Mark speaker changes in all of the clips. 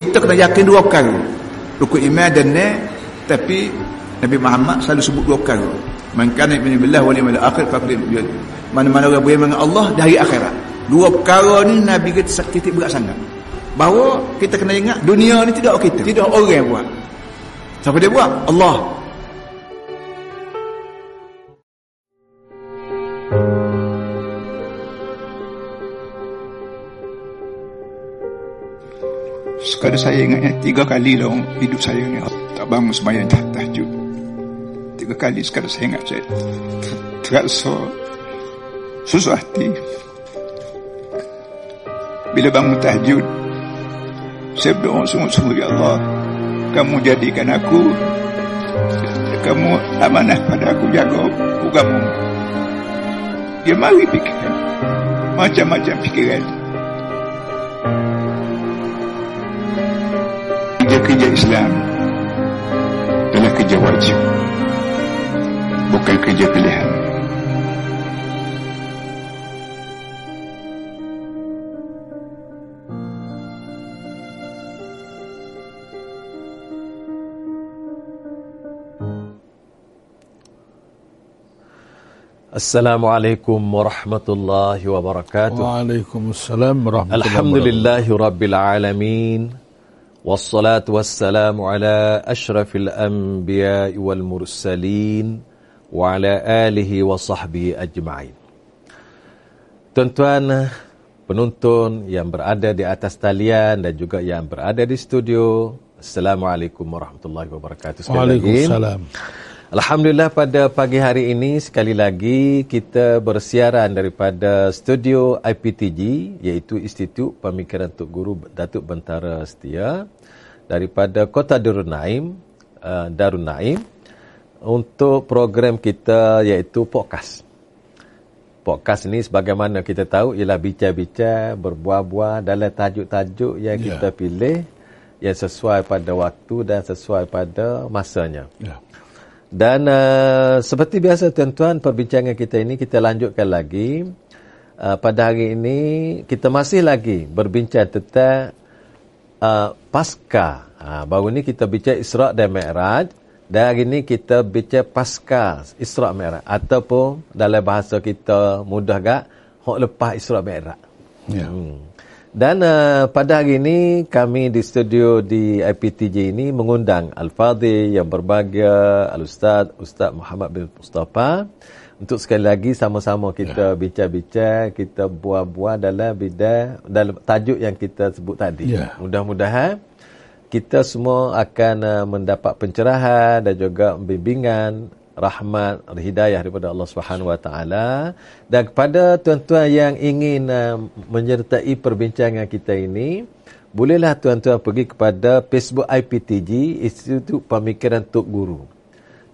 Speaker 1: Kita kena yakin dua perkara. Rukun iman dan ni tapi Nabi Muhammad selalu sebut dua perkara. Man kana yu'minu billahi wal yawmil akhir faqad Mana-mana orang beriman dengan Allah dari akhirat. Dua perkara ni Nabi kata titik berat sangat. Bahawa kita kena ingat dunia ni tidak kita, tidak orang yang buat. Siapa dia buat? Allah.
Speaker 2: Sekali saya ingatnya tiga kali lah hidup saya ni tak bangun sembahyang dah tahajud. Tiga kali sekali saya ingat saya terasa susah hati. Bila bangun tahajud, saya berdoa sungguh-sungguh ya Allah, kamu jadikan aku kamu amanah pada aku jaga agamamu. Dia mari pikiran macam-macam pikiran kerja Islam adalah kerja wajib bukan kerja pilihan
Speaker 3: Assalamualaikum warahmatullahi wabarakatuh.
Speaker 4: Waalaikumsalam warahmatullahi
Speaker 3: Alhamdulillahi rabbil alamin. والصلاة والسلام على أشرف الأنبياء والمرسلين وعلى آله وصحبه أجمعين Tuan-tuan penonton yang berada di atas talian dan juga yang berada di studio Assalamualaikum warahmatullahi wabarakatuh sekali lagi.
Speaker 4: Waalaikumsalam.
Speaker 3: Alhamdulillah pada pagi hari ini sekali lagi kita bersiaran daripada studio IPTG iaitu Institut Pemikiran Tok Guru Datuk Bentara Setia daripada Kota Darun Naim, uh, Darun Naim untuk program kita iaitu podcast. Podcast ni sebagaimana kita tahu ialah bincang-bincang berbuah-buah dalam tajuk-tajuk yang
Speaker 4: Ya.
Speaker 3: kita pilih yang sesuai pada waktu dan sesuai pada masanya.
Speaker 4: Ya.
Speaker 3: Dan uh, seperti biasa tuan-tuan perbincangan kita ini kita lanjutkan lagi. Uh, pada hari ini kita masih lagi berbincang tentang uh, pasca. Ha, baru ni kita bincang Isra' dan Mi'raj. Dan hari ini kita bincang pasca Isra' Mi'raj. Ataupun dalam bahasa kita mudah gak, hok lepas Isra' Mi'raj.
Speaker 4: Ya.
Speaker 3: Dan uh, pada hari ini kami di studio di IPTJ ini mengundang Al-Fadhil yang berbahagia Al-Ustaz Ustaz Muhammad bin Mustafa untuk sekali lagi sama-sama kita bincang-bincang, kita buah-buah dalam bidang dalam tajuk yang kita sebut tadi.
Speaker 4: Ya.
Speaker 3: Mudah-mudahan kita semua akan uh, mendapat pencerahan dan juga bimbingan rahmat hidayah daripada Allah Subhanahu Wa Taala dan kepada tuan-tuan yang ingin uh, menyertai perbincangan kita ini bolehlah tuan-tuan pergi kepada Facebook IPTG Institut Pemikiran Tok Guru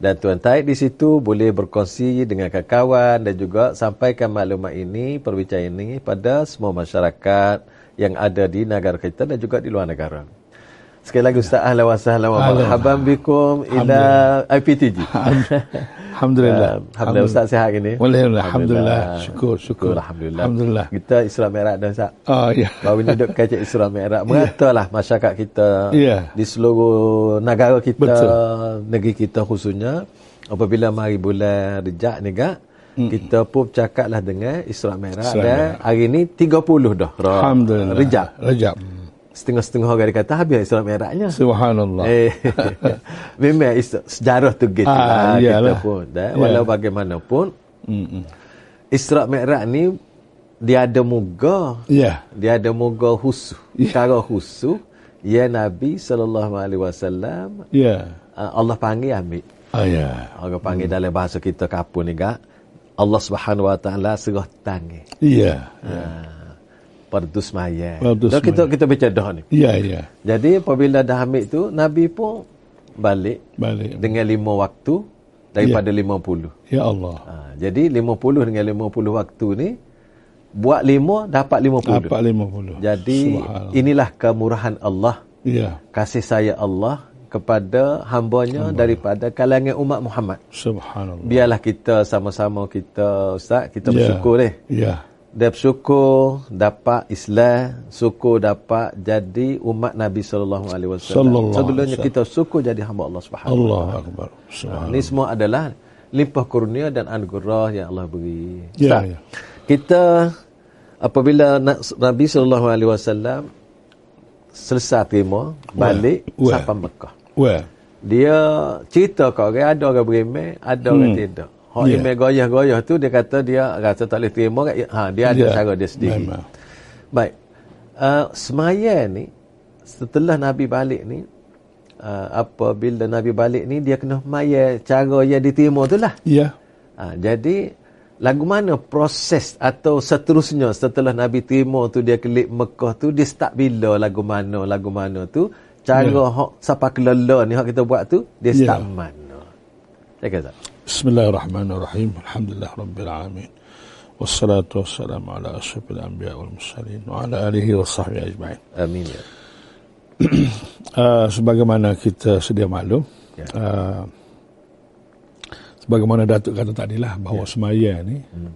Speaker 3: dan Tuan Taib di situ boleh berkongsi dengan kawan-kawan dan juga sampaikan maklumat ini, perbincangan ini pada semua masyarakat yang ada di negara kita dan juga di luar negara. Sekali lagi Ustaz ahlan wa sahlan wa
Speaker 4: Ahlan.
Speaker 3: marhaban bikum ila IPTG. Ah,
Speaker 4: Alhamdulillah.
Speaker 3: Alhamdulillah Ustaz sihat hari ini.
Speaker 4: Alhamdulillah. Alhamdulillah. Syukur, syukur.
Speaker 3: Alhamdulillah.
Speaker 4: Alhamdulillah.
Speaker 3: Kita Isra Mikraj dah Ustaz.
Speaker 4: Oh ya.
Speaker 3: Baru ni duk kajak Isra Mikraj. Meratalah masyarakat kita
Speaker 4: Ya.
Speaker 3: di seluruh negara kita,
Speaker 4: Betul.
Speaker 3: negeri kita khususnya. Apabila mari bulan Rejab ni gak, kita pun bercakaplah dengan Isra Mikraj
Speaker 4: Isra
Speaker 3: dan hari ni 30 dah. Ra-
Speaker 4: Ah, Alhamdulillah.
Speaker 3: Rejab.
Speaker 4: Rejab.
Speaker 3: Setengah-setengah orang dia kata habis Isra Mikrajnya.
Speaker 4: Subhanallah.
Speaker 3: Eh, memang is- sejarah tu gitu
Speaker 4: Ah,
Speaker 3: lah kita
Speaker 4: iyalah.
Speaker 3: pun. Dah.
Speaker 4: Ya.
Speaker 3: Walau bagaimanapun, Isra Mikraj ni dia ada moga.
Speaker 4: Ya.
Speaker 3: Dia ada moga khusus. Cara khusus ya Nabi sallallahu alaihi wasallam
Speaker 4: Ya.
Speaker 3: uh, Allah panggil ambil.
Speaker 4: Oh ya.
Speaker 3: Orang panggil dalam bahasa kita kapun ni gak. Allah Subhanahu wa taala serah tangan.
Speaker 4: Ya.
Speaker 3: Ha. Perdu semaya.
Speaker 4: Fardu
Speaker 3: Dah kita
Speaker 4: sembahyang.
Speaker 3: kita baca dah ni.
Speaker 4: Ya ya.
Speaker 3: Jadi apabila dah ambil tu Nabi pun balik
Speaker 4: Balik.
Speaker 3: dengan lima waktu daripada lima puluh.
Speaker 4: Ya Allah.
Speaker 3: Ha, jadi lima puluh dengan lima puluh waktu ni buat lima dapat lima puluh.
Speaker 4: Dapat 50.
Speaker 3: Jadi
Speaker 4: Subhanallah.
Speaker 3: inilah kemurahan Allah,
Speaker 4: Ya.
Speaker 3: kasih sayang Allah kepada hambanya daripada kalangan umat Muhammad.
Speaker 4: Subhanallah.
Speaker 3: Biarlah kita sama-sama kita Ustaz, kita
Speaker 4: Ya.
Speaker 3: bersyukur eh. deh.
Speaker 4: Ya.
Speaker 3: Dia bersyukur dapat Islam, syukur dapat jadi umat Nabi sallallahu alaihi
Speaker 4: Sallallahu
Speaker 3: wasallam.
Speaker 4: alaihi
Speaker 3: Sebelumnya
Speaker 4: wasallam.
Speaker 3: kita syukur jadi hamba Allah Subhanahu.
Speaker 4: Allah Akbar.
Speaker 3: Wa Taala.
Speaker 4: Subhanallah.
Speaker 3: Ini semua adalah limpah kurnia dan anugerah yang Allah beri.
Speaker 4: Ya,
Speaker 3: Ustaz,
Speaker 4: ya.
Speaker 3: Kita apabila na- Nabi sallallahu alaihi wasallam selesai terima balik
Speaker 4: Wah, wah.
Speaker 3: sampai Mekah.
Speaker 4: Wah.
Speaker 3: Dia cerita kat orang ada orang beriman, ada orang tidak. Hak
Speaker 4: Ya.
Speaker 3: yeah. iman goyah-goyah tu dia kata dia rasa tak boleh terima kat ha dia ada
Speaker 4: Ya,
Speaker 3: cara dia sendiri.
Speaker 4: memang.
Speaker 3: Baik. Uh, semaya ni setelah Nabi balik ni uh, apabila Nabi balik ni dia kena semaya cara yang diterima tu lah.
Speaker 4: Ya.
Speaker 3: Ha, jadi lagu mana proses atau seterusnya setelah Nabi terima tu dia kelip Mekah tu dia start bila lagu mana lagu mana tu cara yeah. hak siapa kelola ni hak kita buat tu dia
Speaker 4: Ya.
Speaker 3: start mana. Saya kata.
Speaker 4: بسم الله الرحمن الرحيم الحمد لله رب العالمين والصلاة والسلام على أشرف الأنبياء والمرسلين وعلى آله وصحبه أجمعين
Speaker 3: Amin. ya.
Speaker 4: uh, sebagaimana kita sedia maklum
Speaker 3: Ya.
Speaker 4: uh, sebagaimana Datuk kata tadilah bahawa
Speaker 3: Ya.
Speaker 4: semaya ni
Speaker 3: Hmm.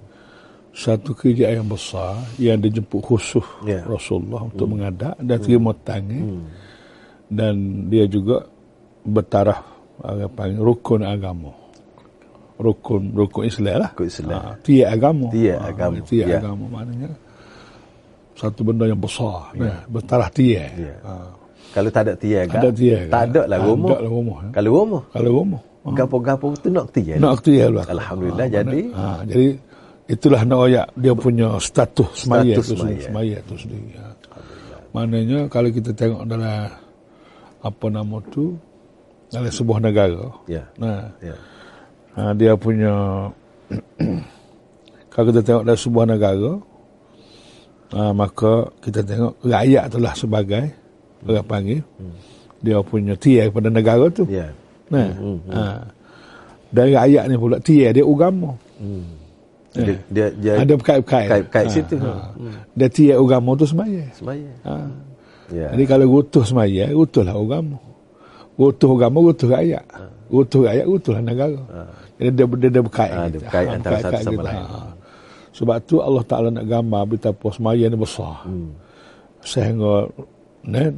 Speaker 4: satu kerja yang besar yang dijemput khusus
Speaker 3: Ya. Hmm.
Speaker 4: Rasulullah untuk mengadak dan terima tangan dan dia juga bertaraf apa panggil rukun agama rukun rukun Islam lah
Speaker 3: Rukun Islam.
Speaker 4: ha, tiada agama
Speaker 3: Tiada agama.
Speaker 4: tiada
Speaker 3: Ya.
Speaker 4: agama maknanya satu benda yang besar yeah. bertaraf tiada
Speaker 3: Ya.
Speaker 4: ha.
Speaker 3: Kalau tak ada tiaga,
Speaker 4: Ada tiaga.
Speaker 3: tak ada lah
Speaker 4: Tak
Speaker 3: rumah.
Speaker 4: ada lah rumah, ya.
Speaker 3: Kalau rumah,
Speaker 4: Kalau rumah. Ha.
Speaker 3: gapo-gapo tu nak tiaga.
Speaker 4: Nak aktu ya lah.
Speaker 3: Alhamdulillah, jadi-
Speaker 4: Ha, jadi itulah nak oyak dia punya status semaya
Speaker 3: Status
Speaker 4: tu sendiri.
Speaker 3: semaya.
Speaker 4: Semaya tu sendiri. Ha. Maknanya kalau kita tengok dalam apa nama tu dalam sebuah negara.
Speaker 3: Ya.
Speaker 4: Nah,
Speaker 3: Ya.
Speaker 4: ha, dia punya kalau kita tengok dari sebuah negara ha, maka kita tengok rakyat itulah sebagai orang panggil dia punya tiar kepada negara tu
Speaker 3: Hmm. Ya.
Speaker 4: nah ha. dan rakyat ni pula tiar dia agama
Speaker 3: Dia dia, dia
Speaker 4: Ya. ada berkait-berkait Ah.
Speaker 3: Berkait-berkait situ.
Speaker 4: dia tiar agama tu semaya
Speaker 3: semaya.
Speaker 4: ha.
Speaker 3: Ya.
Speaker 4: jadi kalau rutuh semaya rutuhlah agama rutuh agama rutuh rakyat
Speaker 3: Ha.
Speaker 4: rutuh rakyat rutuhlah negara jadi dia, dia, dia berkait
Speaker 3: Ah, Ha. dia
Speaker 4: gitu.
Speaker 3: berkait
Speaker 4: Ha,
Speaker 3: antara satu
Speaker 4: berkait-kait
Speaker 3: sama
Speaker 4: gitu.
Speaker 3: lain.
Speaker 4: Ha. sebab tu Allah Ta'ala nak gambar betapa semaya ni besar
Speaker 3: Hmm.
Speaker 4: sehingga ne,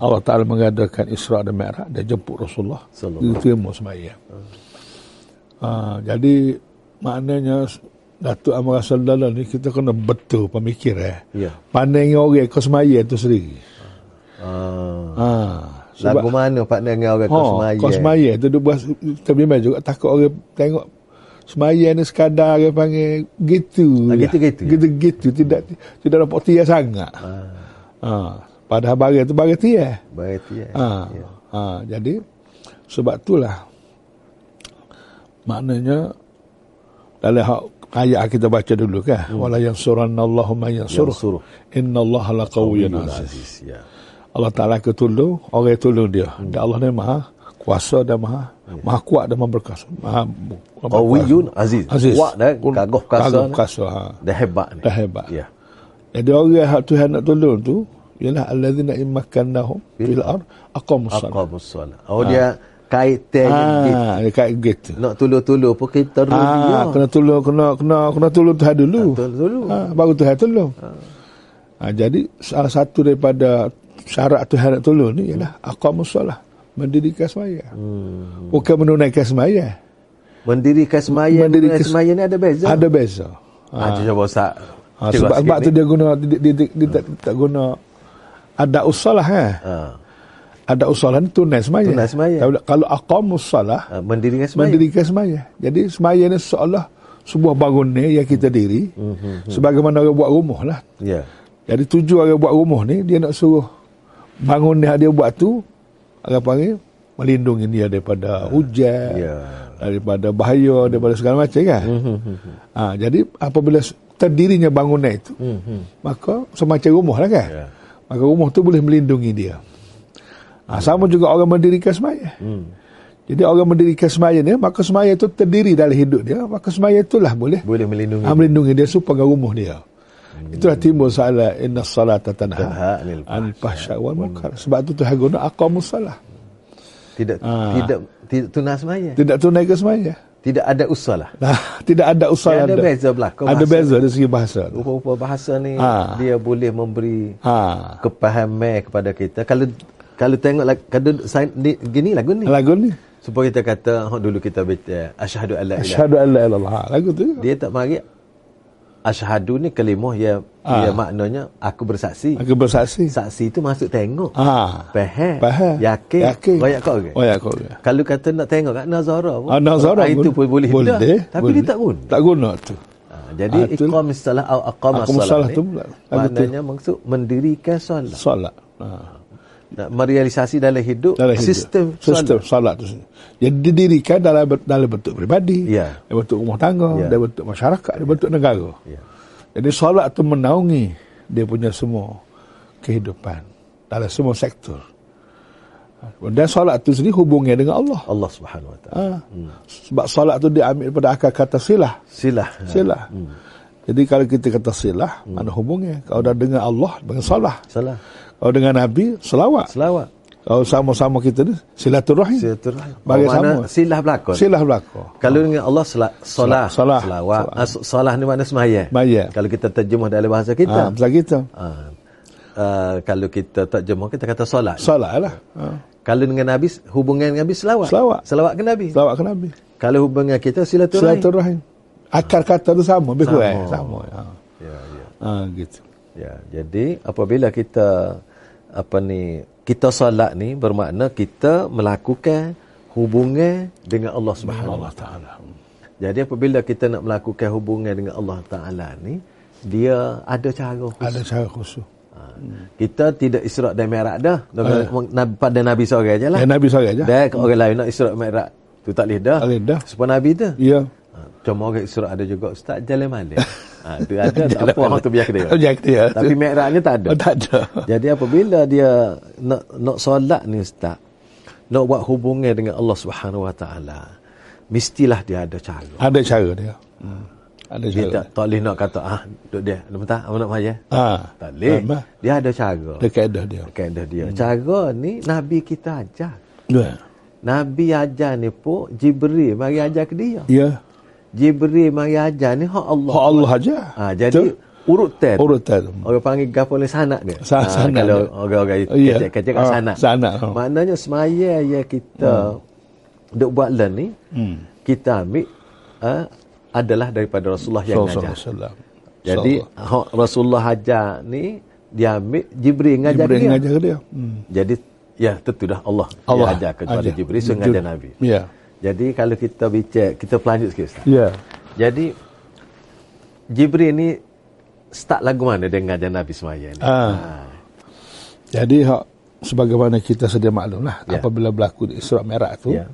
Speaker 4: Allah Ta'ala mengadakan Isra dan Mi'raj dia jemput Rasulullah
Speaker 3: Sallallahu
Speaker 4: dia terima semaya ha, jadi maknanya Datuk Amar Sallallahu ni kita kena betul pemikir eh.
Speaker 3: Ya.
Speaker 4: Pandai orang kau semaya tu sendiri.
Speaker 3: Ah.
Speaker 4: Ha,
Speaker 3: Lagu mana partner dengan orang
Speaker 4: Ha,
Speaker 3: Kosmaya?
Speaker 4: Kau semaya tu duk buat terbimbang juga takut orang tengok semaya ni sekadar orang panggil gitu.
Speaker 3: Ah,
Speaker 4: lah.
Speaker 3: gitu-gitu.
Speaker 4: Gitu-gitu tidak tidak dapat tia sangat. Ha.
Speaker 3: Ah.
Speaker 4: ha. Padahal barang tu barang tia.
Speaker 3: Berarti ya.
Speaker 4: Ha. ha. jadi sebab itulah maknanya dalam hak ayat kita baca dulu kan hmm. wala yansurannallahu man
Speaker 3: Yansuruh.
Speaker 4: yansuruh innallaha laqawiyyun aziz
Speaker 3: Aziz. Ya.
Speaker 4: Allah Ta'ala ke tolong, orang yang tolong dia. Dan Allah ni maha kuasa dan maha, maha kuat dan maha berkasa. Maha, maha
Speaker 3: Qawiyun
Speaker 4: berkuasa.
Speaker 3: Aziz.
Speaker 4: Aziz.
Speaker 3: Wak dah
Speaker 4: Kun-
Speaker 3: kagoh kasa.
Speaker 4: Kagoh
Speaker 3: ni.
Speaker 4: kasa. Ha.
Speaker 3: Dah hebat ni.
Speaker 4: Dah hebat.
Speaker 3: Ya.
Speaker 4: Jadi orang yang Tuhan nak tolong tu, ialah alladzina immakannahum fil ar aqamus salat.
Speaker 3: Aqamus solat. Oh dia kaitan ha.
Speaker 4: Ah, dia kait gitu.
Speaker 3: nak tolong-tolong pun kita rugi.
Speaker 4: Ah,
Speaker 3: Ah,
Speaker 4: kena tolong, kena kena kena tolong Tuhan dulu.
Speaker 3: Tolong-tolong.
Speaker 4: Ha, baru Tuhan tolong. Ha.
Speaker 3: Ah.
Speaker 4: jadi salah satu daripada syarat Tuhan nak tolong ni ialah aqamus solah, mendirikan sembahyang. Hmm. Bukan menunaikan sembahyang.
Speaker 3: Mendirikan semaya
Speaker 4: Mendirikan
Speaker 3: mendirikan semaya ni ada beza.
Speaker 4: Ada beza.
Speaker 3: Ha. Ada coba Ustaz.
Speaker 4: Ha, sebab sebab tu dia guna dia, dia, dia, dia tak, tak guna ada usalah kan.
Speaker 3: ha.
Speaker 4: Ada usalah ni tunai sembahyang.
Speaker 3: Tunai sembahyang.
Speaker 4: Tapi Kalau aqamus solah,
Speaker 3: Ha, mendirikan semaya.
Speaker 4: mendirikan semaya. Jadi semaya ni seolah sebuah bangunan yang kita diri mm-hmm. sebagaimana orang buat rumah lah.
Speaker 3: Ya.
Speaker 4: Jadi tujuan orang buat rumah ni dia nak suruh bangunan yang dia buat tu orang panggil melindungi dia daripada hujan,
Speaker 3: Ya.
Speaker 4: daripada bahaya, daripada segala macam kan. Mm-hmm. Ha, jadi apabila terdirinya bangunan itu mm-hmm. maka semacam rumah lah kan.
Speaker 3: Ya.
Speaker 4: Maka rumah tu boleh melindungi dia.
Speaker 3: Hmm.
Speaker 4: Ha, sama juga orang mendirikan semaya. Hmm. Jadi orang mendirikan semaya ni, maka semaya tu terdiri dalam hidup dia, maka semaya itulah boleh
Speaker 3: Boleh melindungi.
Speaker 4: ha, melindungi dia supaya rumah dia. Itulah timbul soalan inna salata
Speaker 3: Hmm. Tanha
Speaker 4: tanha
Speaker 3: anil
Speaker 4: anil fahsya wal munkar. Sebab tu Tuhan guna aqamus salah.
Speaker 3: Tidak
Speaker 4: Ha.
Speaker 3: tidak tidak tunai semaya.
Speaker 4: Tidak tunaikan semaya.
Speaker 3: Tidak ada lah. usalah.
Speaker 4: Nah, tidak ada usaha
Speaker 3: Dia ada beza berlaku
Speaker 4: Ada
Speaker 3: bahasa.
Speaker 4: beza dari segi bahasa.
Speaker 3: Rupa-rupa bahasa ni
Speaker 4: Ha.
Speaker 3: dia boleh memberi
Speaker 4: Ha.
Speaker 3: kepahaman kepada kita. Kalau kalau tengok lag- kalau saya, ni, gini lagu ni.
Speaker 4: Lagu ni.
Speaker 3: Supaya kita kata oh, dulu kita baca asyhadu alla ilaha.
Speaker 4: Asyhadu an la ilaha illallah. Lagu tu. juga.
Speaker 3: Dia tak mari asyhadu ni kalimah yang
Speaker 4: Ha.
Speaker 3: ha. yang maknanya aku bersaksi.
Speaker 4: Aku bersaksi.
Speaker 3: Saksi tu masuk tengok.
Speaker 4: Ha.
Speaker 3: Faham?
Speaker 4: Faham.
Speaker 3: Yakin.
Speaker 4: Yakin.
Speaker 3: Wayak kau ke?
Speaker 4: Wayak kau ke?
Speaker 3: Kalau kata nak tengok kat Nazara pun.
Speaker 4: Ah, Nazara
Speaker 3: Itu pun boleh.
Speaker 4: boleh
Speaker 3: dah. Tapi
Speaker 4: boleh.
Speaker 3: dia tak guna.
Speaker 4: Tak guna tu.
Speaker 3: Ha, jadi
Speaker 4: Ah, itulah.
Speaker 3: iqam salah atau aqam
Speaker 4: Aqamus salah
Speaker 3: salah
Speaker 4: tu
Speaker 3: ni
Speaker 4: pula. Ah, Lagu tu.
Speaker 3: maknanya maksud mendirikan solat.
Speaker 4: Solat. Ha.
Speaker 3: Nak merealisasi dalam hidup
Speaker 4: Dalam hidup.
Speaker 3: sistem
Speaker 4: sistem
Speaker 3: solat.
Speaker 4: solat tu. Jadi didirikan dalam ber- dalam bentuk peribadi,
Speaker 3: Ya.
Speaker 4: dalam bentuk rumah tangga,
Speaker 3: Ya.
Speaker 4: dalam bentuk masyarakat, dalam bentuk negara.
Speaker 3: Ya.
Speaker 4: Jadi solat tu menaungi dia punya semua kehidupan dalam semua sektor. Dan solat tu sendiri hubungnya dengan Allah.
Speaker 3: Allah Subhanahu Wa Taala.
Speaker 4: Ha. Sebab solat tu diambil daripada akar kata silah.
Speaker 3: Silah.
Speaker 4: Silah.
Speaker 3: Hmm.
Speaker 4: Jadi kalau kita kata silah, mana hubungnya? Kalau dah dengar Allah, dengan solah.
Speaker 3: Salah.
Speaker 4: Kalau dengan Nabi, selawat.
Speaker 3: Selawat.
Speaker 4: Kalau sama-sama kita ni, silaturahim.
Speaker 3: Silaturahim.
Speaker 4: Bagi
Speaker 3: Mana
Speaker 4: sama.
Speaker 3: silah berlakon.
Speaker 4: Silah berlaku.
Speaker 3: Kalau dengan Allah salah salah
Speaker 4: Salah.
Speaker 3: Selawat.
Speaker 4: Salah.
Speaker 3: Ah, so- Salah ni makna semaya.
Speaker 4: Sembahyang.
Speaker 3: Kalau kita terjemah dalam bahasa
Speaker 4: Ha,
Speaker 3: kita.
Speaker 4: pasal kita.
Speaker 3: Ha. Uh, kalau kita terjemah kita kata solat.
Speaker 4: Salah lah. Ha.
Speaker 3: Kalau dengan Nabi hubungan dengan Nabi selawat.
Speaker 4: Selawat.
Speaker 3: Selawat ke Nabi.
Speaker 4: Selawat ke Nabi.
Speaker 3: Kalau hubungan kita silaturahim.
Speaker 4: Silaturahim. Akar kata tu sama. Lebih kurang.
Speaker 3: Sama.
Speaker 4: Sama. Ha.
Speaker 3: Ya, ya.
Speaker 4: ha gitu.
Speaker 3: Ya, jadi apabila kita apa ni kita solat ni bermakna kita melakukan hubungan dengan Allah Subhanahu Wa Taala. Jadi apabila kita nak melakukan hubungan dengan Allah Taala ni dia ada cara khusus.
Speaker 4: Ada cara khusus.
Speaker 3: Ha. Kita tidak Isra dan Mi'raj dah. Dengan Nabi- pada Nabi seorang je lah.
Speaker 4: Eh. Ya, Nabi seorang je.
Speaker 3: Dan kalau orang lain nak Isra dan Mi'raj tu tak boleh dah.
Speaker 4: Tak boleh dah.
Speaker 3: Sebab Nabi tu.
Speaker 4: Ya.
Speaker 3: Ha, Cuma orang Isra ada juga Ustaz Jalan Malik. Ha, tu ada tak apa orang tu biar dia.
Speaker 4: Biar dia.
Speaker 3: Tapi Mi'rajnya tak ada.
Speaker 4: Oh, tak ada.
Speaker 3: Jadi apabila dia nak nak solat ni Ustaz, nak buat hubungan dengan Allah Subhanahu Wa Taala, mestilah dia ada cara.
Speaker 4: Ada cara dia. Hmm. Ada
Speaker 3: Dia
Speaker 4: cara.
Speaker 3: tak, tak boleh nak kata ah duduk dia, duduk tak, nak maya.
Speaker 4: Ha.
Speaker 3: Tak boleh.
Speaker 4: Memang.
Speaker 3: Dia ada cara.
Speaker 4: Ada kaedah dia. Hmm.
Speaker 3: Kaedah dia. Cara ni Nabi kita ajar.
Speaker 4: Ya.
Speaker 3: Nabi ajar ni pun Jibril mari ajar ke dia.
Speaker 4: Ya.
Speaker 3: Jibril mari ajar ni hak Allah.
Speaker 4: Oh Allah aja.
Speaker 3: Ha, jadi Oh, urutan.
Speaker 4: Urutan.
Speaker 3: Orang panggil gapo oleh sanak dia. Ha,
Speaker 4: Sa- sanak
Speaker 3: kalau
Speaker 4: dia.
Speaker 3: orang-orang
Speaker 4: Ya.
Speaker 3: yeah. kecil-kecil kat
Speaker 4: Ah,
Speaker 3: sanak.
Speaker 4: sanak. Ah.
Speaker 3: Maknanya semaya yang kita
Speaker 4: Hmm.
Speaker 3: duk buat lan ni, kita ambil ah, adalah daripada Rasulullah yang
Speaker 4: Sallallahu
Speaker 3: ajar.
Speaker 4: alaihi wasallam.
Speaker 3: Jadi hak Rasulullah ajar ni dia ambil Jibril ngajar
Speaker 4: Jibril
Speaker 3: dia.
Speaker 4: ngajar ke dia. Hmm.
Speaker 3: Jadi ya tentu dah Allah,
Speaker 4: Allah
Speaker 3: dia ajar kepada
Speaker 4: ajar.
Speaker 3: Jibril suruh
Speaker 4: Jib-
Speaker 3: ngajar Nabi.
Speaker 4: Ya.
Speaker 3: Jadi kalau kita bicara kita pelanjut sikit Ustaz.
Speaker 4: Ya.
Speaker 3: Jadi Jibril ni start lagu mana dia ngajar Nabi semaya ni?
Speaker 4: Ah. Jadi hak sebagaimana kita sedia maklum lah
Speaker 3: Ya.
Speaker 4: apabila berlaku di Isra Merah tu
Speaker 3: Ya.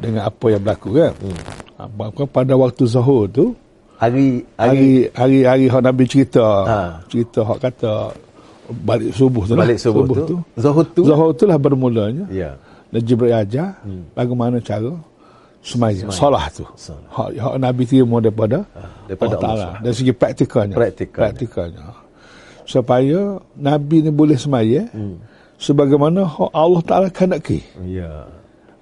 Speaker 4: dengan apa yang berlaku kan. Hmm. Pada waktu Zuhur tu
Speaker 3: Hari hari,
Speaker 4: hari hari hari hak Nabi cerita
Speaker 3: Ha.
Speaker 4: cerita hak kata balik subuh tu lah.
Speaker 3: Balik subuh tu. Zuhur tu.
Speaker 4: Zuhur tu lah bermulanya
Speaker 3: Ya.
Speaker 4: dan Jibril ajar
Speaker 3: Hmm.
Speaker 4: bagaimana cara semaya solah tu
Speaker 3: Solah.
Speaker 4: hak, hak Nabi terima daripada
Speaker 3: Ah, daripada Allah
Speaker 4: Ta'ala
Speaker 3: Subhanahu.
Speaker 4: dari segi praktikalnya
Speaker 3: Praktikalnya.
Speaker 4: praktikalnya supaya Nabi ni boleh semaya
Speaker 3: Hmm.
Speaker 4: sebagaimana hak Allah Ta'ala kehendaki
Speaker 3: ya.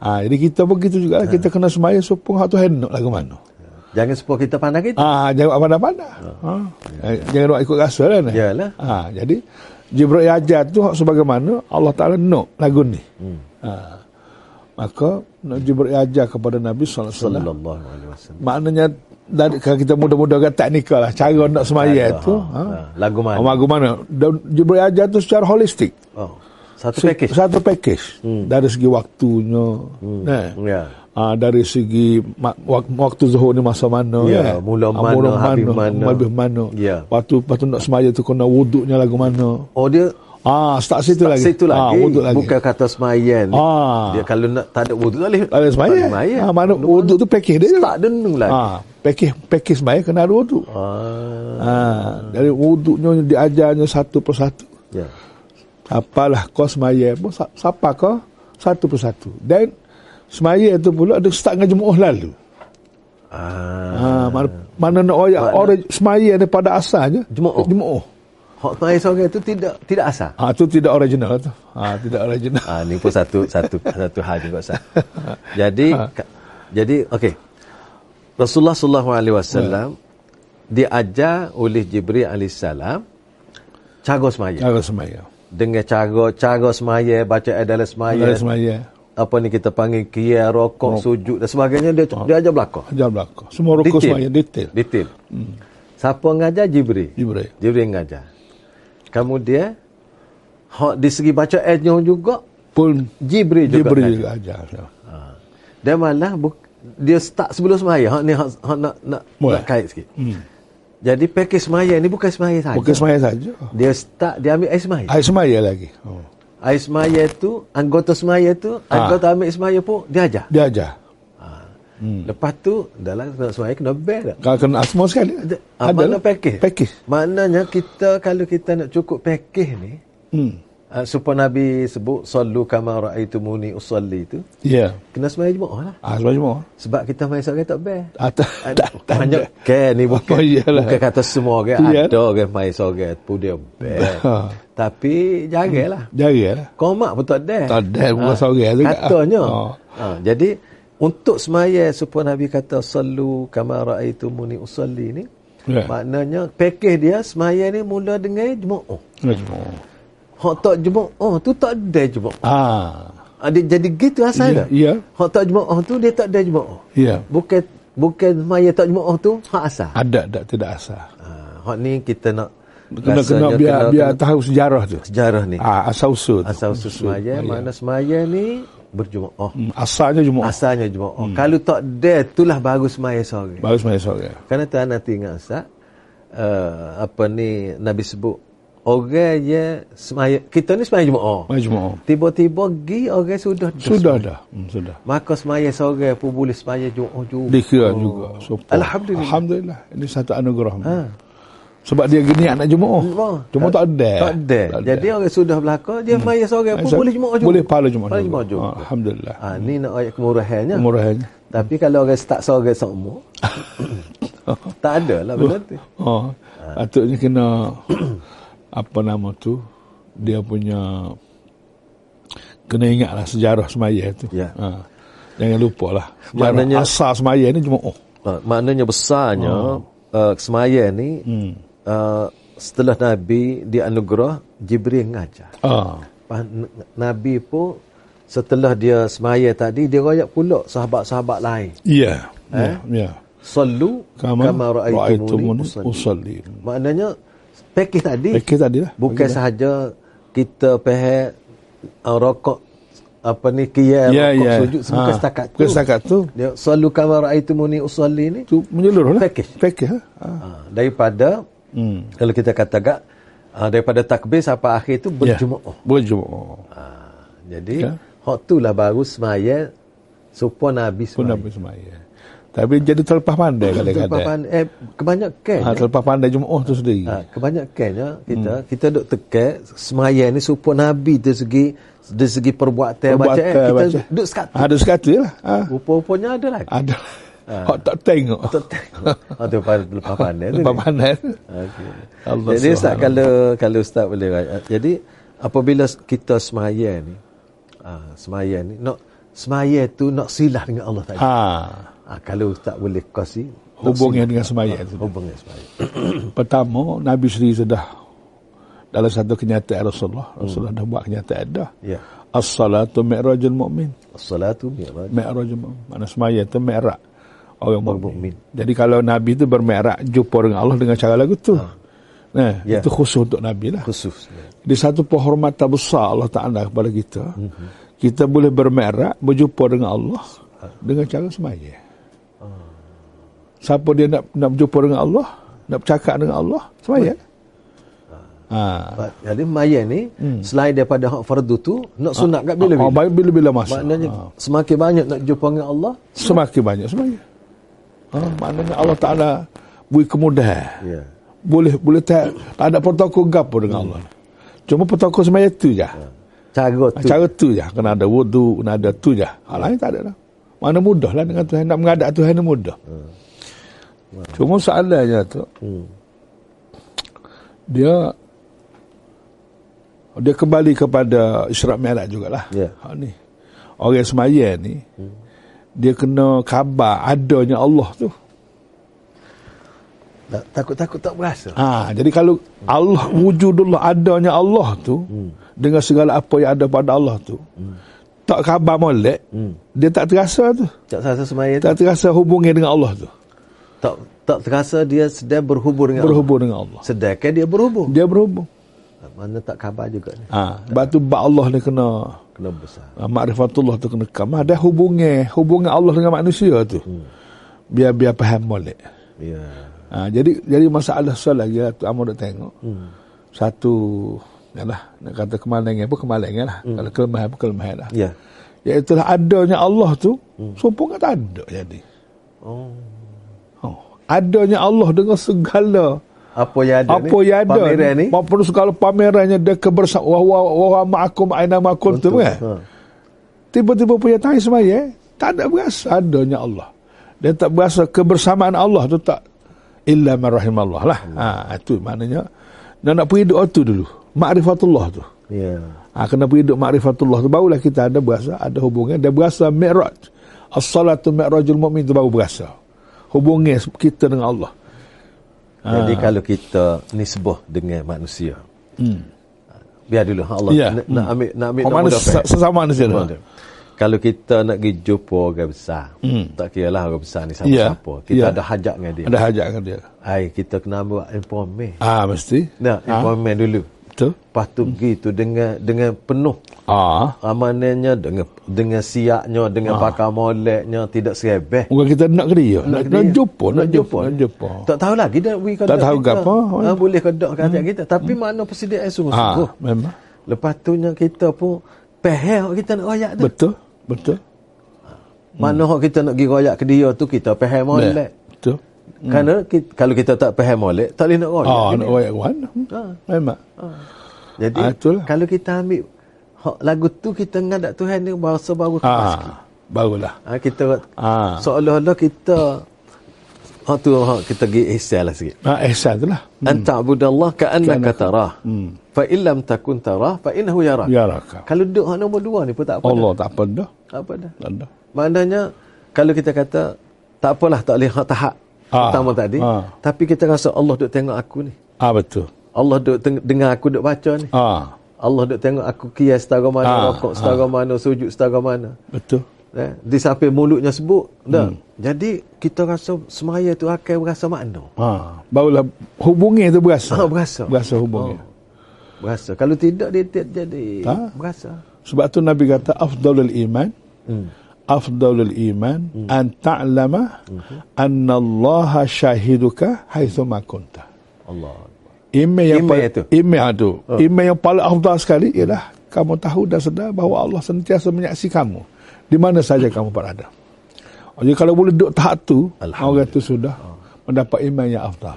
Speaker 4: ha, jadi kita pun gitu juga
Speaker 3: Ah.
Speaker 4: lah. kita kena semaya supaya hak tu hendak lah ke mana
Speaker 3: Jangan sepuluh kita pandang kita.
Speaker 4: Ah, jangan buat pandai-pandai. Ha. Eh, Jangan buat ikut rasa lah ni.
Speaker 3: Yalah.
Speaker 4: Ha, jadi Jibril ajar tu hak sebagaimana Allah Taala nak lagu ni. Hmm. Ha. Maka nak Jibril ajar kepada Nabi sallallahu alaihi wasallam.
Speaker 3: Sallallahu alaihi wasallam.
Speaker 4: Maknanya dari kalau kita muda-muda kan teknikal lah cara nak semaya
Speaker 3: Ada,
Speaker 4: tu.
Speaker 3: ha.
Speaker 4: Ha.
Speaker 3: Lagu mana?
Speaker 4: Lagu mana? Dan Jibril ajar tu secara holistik.
Speaker 3: Oh. Satu
Speaker 4: Se-
Speaker 3: package.
Speaker 4: Satu package. Hmm. Dari segi waktunya. Hmm. Nah.
Speaker 3: Ya.
Speaker 4: Ah, dari segi ma- wak- waktu zuhur ni masa mana
Speaker 3: Ya,
Speaker 4: ya.
Speaker 3: mula
Speaker 4: Ah,
Speaker 3: mana, habis mana.
Speaker 4: habis mana
Speaker 3: Ya.
Speaker 4: lepas tu lepas tu nak semaya tu kena wuduknya lagu mana
Speaker 3: Oh dia
Speaker 4: ah start situ
Speaker 3: tak
Speaker 4: lagi
Speaker 3: situ lagi.
Speaker 4: ah, wuduk lagi
Speaker 3: Bukan kata semaya ni.
Speaker 4: Ah.
Speaker 3: Dia kalau nak tak ada wuduk tak boleh.
Speaker 4: tak ada semaya ah, mana wuduk tu package dia
Speaker 3: Tak denung lagi.
Speaker 4: ah package package semaya kena ada wuduk ah.
Speaker 3: Ah.
Speaker 4: dari wuduknya diajarnya satu persatu
Speaker 3: Ya.
Speaker 4: apalah kau semaya pun sa- siapa kau satu persatu dan semaya tu pula dia start dengan jemaah lalu
Speaker 3: Ah.
Speaker 4: Ha, mana, mana nak oyak
Speaker 3: Makna-
Speaker 4: orang semaya daripada asalnya
Speaker 3: Jemaah.
Speaker 4: jemaah
Speaker 3: Hak terakhir seorang itu tidak tidak asal.
Speaker 4: ha tu tidak original tu ha tidak original Ah.
Speaker 3: Ah ni pun satu satu satu hal juga Ustaz. Jadi ka, jadi okey. Rasulullah sallallahu alaihi wasallam
Speaker 4: Ah.
Speaker 3: diajar oleh Jibril alaihi salam cara semaya.
Speaker 4: Cara semaya.
Speaker 3: Dengan cara cara semaya, baca adalah semaya,
Speaker 4: Cara semaya.
Speaker 3: apa ni kita panggil qiyam, rokok, sujud dan sebagainya dia dia ajar belakang.
Speaker 4: Ajar belakang. Ah. Semua rukun
Speaker 3: Detail.
Speaker 4: semaya detail.
Speaker 3: Detail. Hmm. Siapa ngajar Jibril?
Speaker 4: Jibril.
Speaker 3: Jibril ngajar. Kemudian hak di segi bacaannya juga
Speaker 4: Pun
Speaker 3: Jibril juga.
Speaker 4: Jibril
Speaker 3: ngajar.
Speaker 4: juga ajar.
Speaker 3: Ha. Dan malah bu, dia start sebelum semaya. Hak ni hak, hak nak nak,
Speaker 4: Boleh.
Speaker 3: nak kait sikit. Hmm. Jadi package semaya ni bukan semaya saja.
Speaker 4: Bukan semaya saja.
Speaker 3: Dia start dia ambil air semaya.
Speaker 4: Air semaya lagi. Oh.
Speaker 3: Air semaya tu, anggota semaya tu,
Speaker 4: Ah.
Speaker 3: anggota ambil semaya pun dia ajar.
Speaker 4: Dia ajar.
Speaker 3: Hmm. Lepas tu dalam semaya kena bear tak?
Speaker 4: Kalau kena asma sekali.
Speaker 3: Ah,
Speaker 4: Ada
Speaker 3: makna
Speaker 4: lah.
Speaker 3: package.
Speaker 4: Package.
Speaker 3: Maknanya kita kalau kita nak cukup package ni,
Speaker 4: Hmm.
Speaker 3: uh, supaya Nabi sebut sallu kama raaitumuni usolli tu,
Speaker 4: Ya.
Speaker 3: kena sembahyang jemaah lah.
Speaker 4: Asma Ah, semua.
Speaker 3: Sebab kita main seorang tak best.
Speaker 4: Atas.
Speaker 3: Ada banyak ke ni bukan.
Speaker 4: Oh, iyalah.
Speaker 3: bukan kata semua ke
Speaker 4: Iyalah.
Speaker 3: ada ke main seorang tu dia best.
Speaker 4: Ha.
Speaker 3: Tapi jagalah.
Speaker 4: Jaga lah.
Speaker 3: Komak pun tak ada.
Speaker 4: Tak ada, bukan seorang tu.
Speaker 3: Katanya.
Speaker 4: Ha.
Speaker 3: Ha. jadi untuk semaya supaya Nabi kata sallu kama raaitumuni usolli ni
Speaker 4: Ya.
Speaker 3: maknanya pakej dia semaya ni mula dengan Oh, jemaah.
Speaker 4: Kena semua.
Speaker 3: Hak tak jemaah oh, tu tak ada jemaah.
Speaker 4: Ah.
Speaker 3: Ha, dia jadi gitu asal dia.
Speaker 4: Ya, ya.
Speaker 3: Hak tak jemaah oh, tu dia tak ada jemaah.
Speaker 4: Ya.
Speaker 3: Bukan bukan maya tak jemaah oh, tu hak asal.
Speaker 4: Ada tak tidak asal.
Speaker 3: Ha, hak ni kita nak
Speaker 4: Kena kena
Speaker 3: rasanya
Speaker 4: biar biar
Speaker 3: kena
Speaker 4: tahu sejarah tu.
Speaker 3: sejarah ni.
Speaker 4: Ah, asal usul. tu.
Speaker 3: Asal usul semaya, mana semaya ni Oh, berjemaah.
Speaker 4: Hmm, Asalnya cuma
Speaker 3: Asalnya jemaah.
Speaker 4: Hmm.
Speaker 3: Kalau tak ada itulah baru semaya seorang.
Speaker 4: baru semaya seorang.
Speaker 3: Kerana tuan nanti ingat Ustaz, uh, apa ni Nabi sebut orang yang semaya kita ni semaya jemaah.
Speaker 4: Semaya jemaah.
Speaker 3: Tiba-tiba pergi orang sudah
Speaker 4: Sudah dah. Hmm, sudah.
Speaker 3: Maka semaya seorang pun boleh semaya jemaah juga.
Speaker 4: Dikira juga. Support.
Speaker 3: Oh. Alhamdulillah. Ah.
Speaker 4: Alhamdulillah. Ini satu anugerah. Ha. Sebab dia gini anak jemaah.
Speaker 3: Jemaah.
Speaker 4: Cuma tak ada.
Speaker 3: Hmm, Tak ada. Jadi orang sudah belaka dia hmm. maya seorang pun
Speaker 4: Saya-
Speaker 3: boleh jemaah juga.
Speaker 4: Boleh pahala jemaah
Speaker 3: Pahala
Speaker 4: juga.
Speaker 3: jemaah juga. ya.
Speaker 4: Ah, Alhamdulillah.
Speaker 3: Ha, ni nak ayat kemurahannya.
Speaker 4: Murahnya.
Speaker 3: Tapi kalau orang start seorang semua tak ada lah benda tu.
Speaker 4: Oh, patutnya kena apa nama tu? Dia punya kena ingatlah sejarah semaya tu.
Speaker 3: Ya.
Speaker 4: Ha. Jangan lupa lah. Sejarah
Speaker 3: Maknanya-
Speaker 4: asal semaya ni cuma oh.
Speaker 3: Ha, maknanya besarnya uh, semaya ni hmm. uh, setelah Nabi dianugerah Jibril ngajar.
Speaker 4: Ah.
Speaker 3: Lepas N- Nabi pun setelah dia semaya tadi dia royak pula sahabat-sahabat lain.
Speaker 4: Ya. Ya. Ya.
Speaker 3: Sallu Eh?
Speaker 4: Kama,
Speaker 3: kama raaitumuni usolli.
Speaker 4: usalli.
Speaker 3: Maknanya pakej tadi
Speaker 4: Fikir tadi lah.
Speaker 3: Bukan
Speaker 4: Fikir
Speaker 3: sahaja kita pahal uh, rokok apa ni kia
Speaker 4: Ya,
Speaker 3: rokok
Speaker 4: ya.
Speaker 3: sujud bukan
Speaker 4: Ha,
Speaker 3: setakat tu.
Speaker 4: bukan setakat tu.
Speaker 3: Dia sallu kama raaitumuni usolli ni
Speaker 4: tu menyeluruh lah.
Speaker 3: Package.
Speaker 4: Package lah. Ha.
Speaker 3: ha, daripada hmm. kalau kita kata gak ha, daripada takbir sampai akhir tu
Speaker 4: Ya. oh.
Speaker 3: berjemaah.
Speaker 4: Berjemaah.
Speaker 3: Ha, jadi
Speaker 4: Ya.
Speaker 3: hak tu lah baru semaya supaya Nabi
Speaker 4: Pun
Speaker 3: semaya.
Speaker 4: habis semaya. Tapi jadi terlepas pandai kadang-kadang.
Speaker 3: Terpapan- Eh, kebanyakan
Speaker 4: Ha, terlepas pandai jemaah tu sendiri.
Speaker 3: Ha, kebanyakannya kita hmm. kita duk tekan semaya ni supaya Nabi dari segi dari segi perbuatan,
Speaker 4: Perbuatan,
Speaker 3: bacaan eh, kita
Speaker 4: baca. Ah.
Speaker 3: duk sekat.
Speaker 4: Ha, ada sekatu je lah. Ha.
Speaker 3: Rupa-rupanya ada lagi.
Speaker 4: Ada.
Speaker 3: Ah.
Speaker 4: Hak tak tengok.
Speaker 3: Tak tengok. Ha, tu lepas lepas pandai tu.
Speaker 4: Lepas pandai.
Speaker 3: Okey.
Speaker 4: Allah
Speaker 3: Jadi Ustaz
Speaker 4: Subhanallah.
Speaker 3: kalau kalau Ustaz boleh ra- jadi apabila kita semaya ni ha, semaya ni nak semaya tu nak silah dengan Allah Taala.
Speaker 4: Ha.
Speaker 3: Ha, kalau Ustaz boleh kasih nak
Speaker 4: Hubungnya dengan semaya
Speaker 3: silah.
Speaker 4: tu.
Speaker 3: hubungnya semaya.
Speaker 4: Pertama, Nabi sendiri sudah dalam satu kenyataan Rasulullah. Rasulullah dah buat kenyataan dah.
Speaker 3: Hmm. Ya.
Speaker 4: As-salatu mi'rajul mu'min.
Speaker 3: As-salatu mi'raj.
Speaker 4: Mi'rajul mu'min. Mana semaya tu mi'raj. Orang
Speaker 3: mukmin.
Speaker 4: mu'min. Jadi kalau Nabi tu bermi'raj, jumpa dengan Allah dengan cara lagu tu. Nah,
Speaker 3: Ah. Ya.
Speaker 4: itu khusus untuk Nabi lah.
Speaker 3: khusus.
Speaker 4: Di satu penghormatan besar Allah Ta'ala kepada kita.
Speaker 3: Mhm.
Speaker 4: Kita boleh bermerak, berjumpa dengan Allah dengan cara semaya.
Speaker 3: Ah.
Speaker 4: Siapa dia nak nak berjumpa dengan Allah, nak bercakap dengan Allah, semaya. Ha.
Speaker 3: Ah, Jadi maya ni hmm. selain daripada hak fardu tu
Speaker 4: Ha.
Speaker 3: nak sunat kat
Speaker 4: Bila-bila.
Speaker 3: bila-bila.
Speaker 4: bila-bila Ah, masa.
Speaker 3: Maknanya
Speaker 4: Ha.
Speaker 3: semakin banyak nak jumpa dengan Allah,
Speaker 4: Semakin banyak semaya. Ha. Maknanya Allah Ta'ala beri kemudahan.
Speaker 3: ya.
Speaker 4: Boleh, boleh tak, tak ada protokol gapo dengan Allah.
Speaker 3: Hmm.
Speaker 4: Cuma protokol semaya tu je.
Speaker 3: Ya. Cara
Speaker 4: Ha,
Speaker 3: tu.
Speaker 4: Cara tu je. Kena ada wudu, kena ada tu je. Hal lain tak ada lah. Mana mudah lah dengan Tuhan. Nak mengadap Tuhan ni mudah. Cuma soalannya tu. Dia dia kembali kepada Isra Mi'raj jugalah.
Speaker 3: Ya.
Speaker 4: Ha, ni. Hmm. Orang semaya ni dia kena kabar adanya Allah tu.
Speaker 3: Tak- Takut-takut tak berasa.
Speaker 4: Ha, jadi kalau Allah wujudullah adanya Allah tu hmm. dengan segala apa yang ada pada Allah tu hmm. tak khabar molek hmm. dia tak terasa tu
Speaker 3: Tak terasa semaya tu.
Speaker 4: tak terasa hubungnya dengan Allah tu
Speaker 3: Tak tak terasa dia sedang berhubung dengan
Speaker 4: berhubung dengan Allah
Speaker 3: Allah. Sedangkan dia berhubung.
Speaker 4: dia berhubung
Speaker 3: Mana tak khabar juga ni.
Speaker 4: ha, sebab tu bak Allah dia kena
Speaker 3: Kena besar.
Speaker 4: ha, makrifatullah tu kena kam ada hubungnya hubungan Allah dengan manusia tu hmm. biar biar faham molek
Speaker 3: Ya.
Speaker 4: Ha, jadi jadi masalah solat lagi lah, tu Amor dah tengok. Hmm. Satu yalah nak kata kemalangan apa kemalangan lah. Hmm. Kalau kelemahan apa kelemahan lah.
Speaker 3: Ya.
Speaker 4: Iaitu adanya Allah tu hmm. sombong tak ada jadi.
Speaker 3: Oh.
Speaker 4: Oh. Adanya Allah dengan segala
Speaker 3: Apa yang ada ni?
Speaker 4: apa yang ada
Speaker 3: Pameran ni?
Speaker 4: maupun segala pamerannya dia kebersama wa wa wa ma'akum aina ma'akum tu kan.
Speaker 3: Ha.
Speaker 4: Tiba-tiba punya tahi semaya eh? tak ada berasa adanya Allah. Dia tak berasa kebersamaan Allah tu tak illa man rahimallah lah.
Speaker 3: Hmm.
Speaker 4: Ha itu maknanya nak nak pergi doa tu dulu. Makrifatullah tu.
Speaker 3: Ya.
Speaker 4: Ha kena pergi doa makrifatullah tu barulah kita ada berasa ada hubungan dia berasa mi'raj. As-salatu mi'rajul mu'min tu baru berasa. Hubungan kita dengan Allah. Ah.
Speaker 3: Jadi kalau kita nisbah dengan manusia.
Speaker 4: Hmm.
Speaker 3: Biar dulu Ha, Allah
Speaker 4: Ya.
Speaker 3: nak, nak ambil nak ambil
Speaker 4: Orang
Speaker 3: nama
Speaker 4: manusia, lah.
Speaker 3: dah, Pak.
Speaker 4: sesama manusia tu.
Speaker 3: Betul. Kalau kita nak pergi jumpa orang besar, hmm. tak kira lah orang besar ni sama
Speaker 4: Ya.
Speaker 3: siapa. Kita
Speaker 4: Ya.
Speaker 3: ada hajat dengan dia.
Speaker 4: Ada hajat dengan dia.
Speaker 3: Hai, kita kena buat informan.
Speaker 4: Ah mesti.
Speaker 3: Nah, informan dulu.
Speaker 4: Betul. Hmm.
Speaker 3: Lepas tu pergi tu dengan dengan penuh
Speaker 4: Ah.
Speaker 3: amanannya dengan dengan siaknya dengan pakar moleknya tidak serebeh.
Speaker 4: Bukan kita nak ke dia. Nak, nak
Speaker 3: dia.
Speaker 4: jumpa, nak jumpa, Ah, nak jumpa.
Speaker 3: Tak tahu lagi dah we
Speaker 4: Tak tahu ke apa.
Speaker 3: Ha, boleh kedok kata hmm. kita. Tapi hmm. makna persediaan
Speaker 4: Ah,
Speaker 3: sungguh-sungguh.
Speaker 4: memang.
Speaker 3: Lepas tu nya kita pun pehel kita nak royak tu.
Speaker 4: Betul, betul. hmm.
Speaker 3: Mana hak kita nak pergi royak ke dia tu kita pehel molek.
Speaker 4: Eh, Betul.
Speaker 3: Kerana kita, kalau kita tak pehel molek tak boleh nak royak.
Speaker 4: Hmm. Ah,
Speaker 3: ke
Speaker 4: nak
Speaker 3: dia.
Speaker 4: wayak wan. Memang.
Speaker 3: Jadi
Speaker 4: Ah, itulah.
Speaker 3: kalau kita ambil hak lagu tu kita ngadak Tuhan ni bahasa baru kemas sikit.
Speaker 4: Ah, barulah.
Speaker 3: Ha, kita
Speaker 4: Ah.
Speaker 3: seolah-olah kita hak tu hak kita pergi ihsan lah sikit.
Speaker 4: Ah, ihsan tu lah.
Speaker 3: Hmm. An ta'budallah ka'annaka tarah. Hmm. Fa illam takun tarah fa innahu yarak.
Speaker 4: Ya rakam.
Speaker 3: Kalau duduk hak nombor dua ni pun tak apa
Speaker 4: Allah tak apa dah.
Speaker 3: dah. Tak apa dah.
Speaker 4: Tak ada.
Speaker 3: Maknanya kalau kita kata tak apalah tak boleh hak tahap
Speaker 4: Ah.
Speaker 3: pertama tadi,
Speaker 4: Ah.
Speaker 3: tapi kita rasa Allah duk tengok aku ni.
Speaker 4: Ah, betul.
Speaker 3: Allah duk teng- dengar aku duk baca ni.
Speaker 4: Ah,
Speaker 3: Allah duk tengok aku kias setara mana,
Speaker 4: Ah,
Speaker 3: rokok setara mana, sujud setara mana.
Speaker 4: betul.
Speaker 3: Eh, di samping mulutnya sebut
Speaker 4: Hmm.
Speaker 3: dah. Jadi kita rasa semaya tu akan berasa makna.
Speaker 4: Ah, barulah hubungi tu berasa.
Speaker 3: Ah, berasa.
Speaker 4: Oh, Berasa hubungi.
Speaker 3: Oh. Berasa. Kalau tidak dia tidak jadi
Speaker 4: Tak.
Speaker 3: berasa.
Speaker 4: Sebab tu Nabi kata afdalul iman afdalul iman an ta'lama anna Allah syahiduka haitsu ma kunta.
Speaker 3: Allah.
Speaker 4: Iman yang
Speaker 3: Iman
Speaker 4: paling
Speaker 3: itu.
Speaker 4: iman itu. Iman yang paling afdal sekali ialah kamu tahu dan sedar bahawa Allah sentiasa menyaksi kamu di mana saja kamu berada. Oh, Jadi kalau boleh duduk tahap tu, orang tu sudah mendapat iman yang afdal.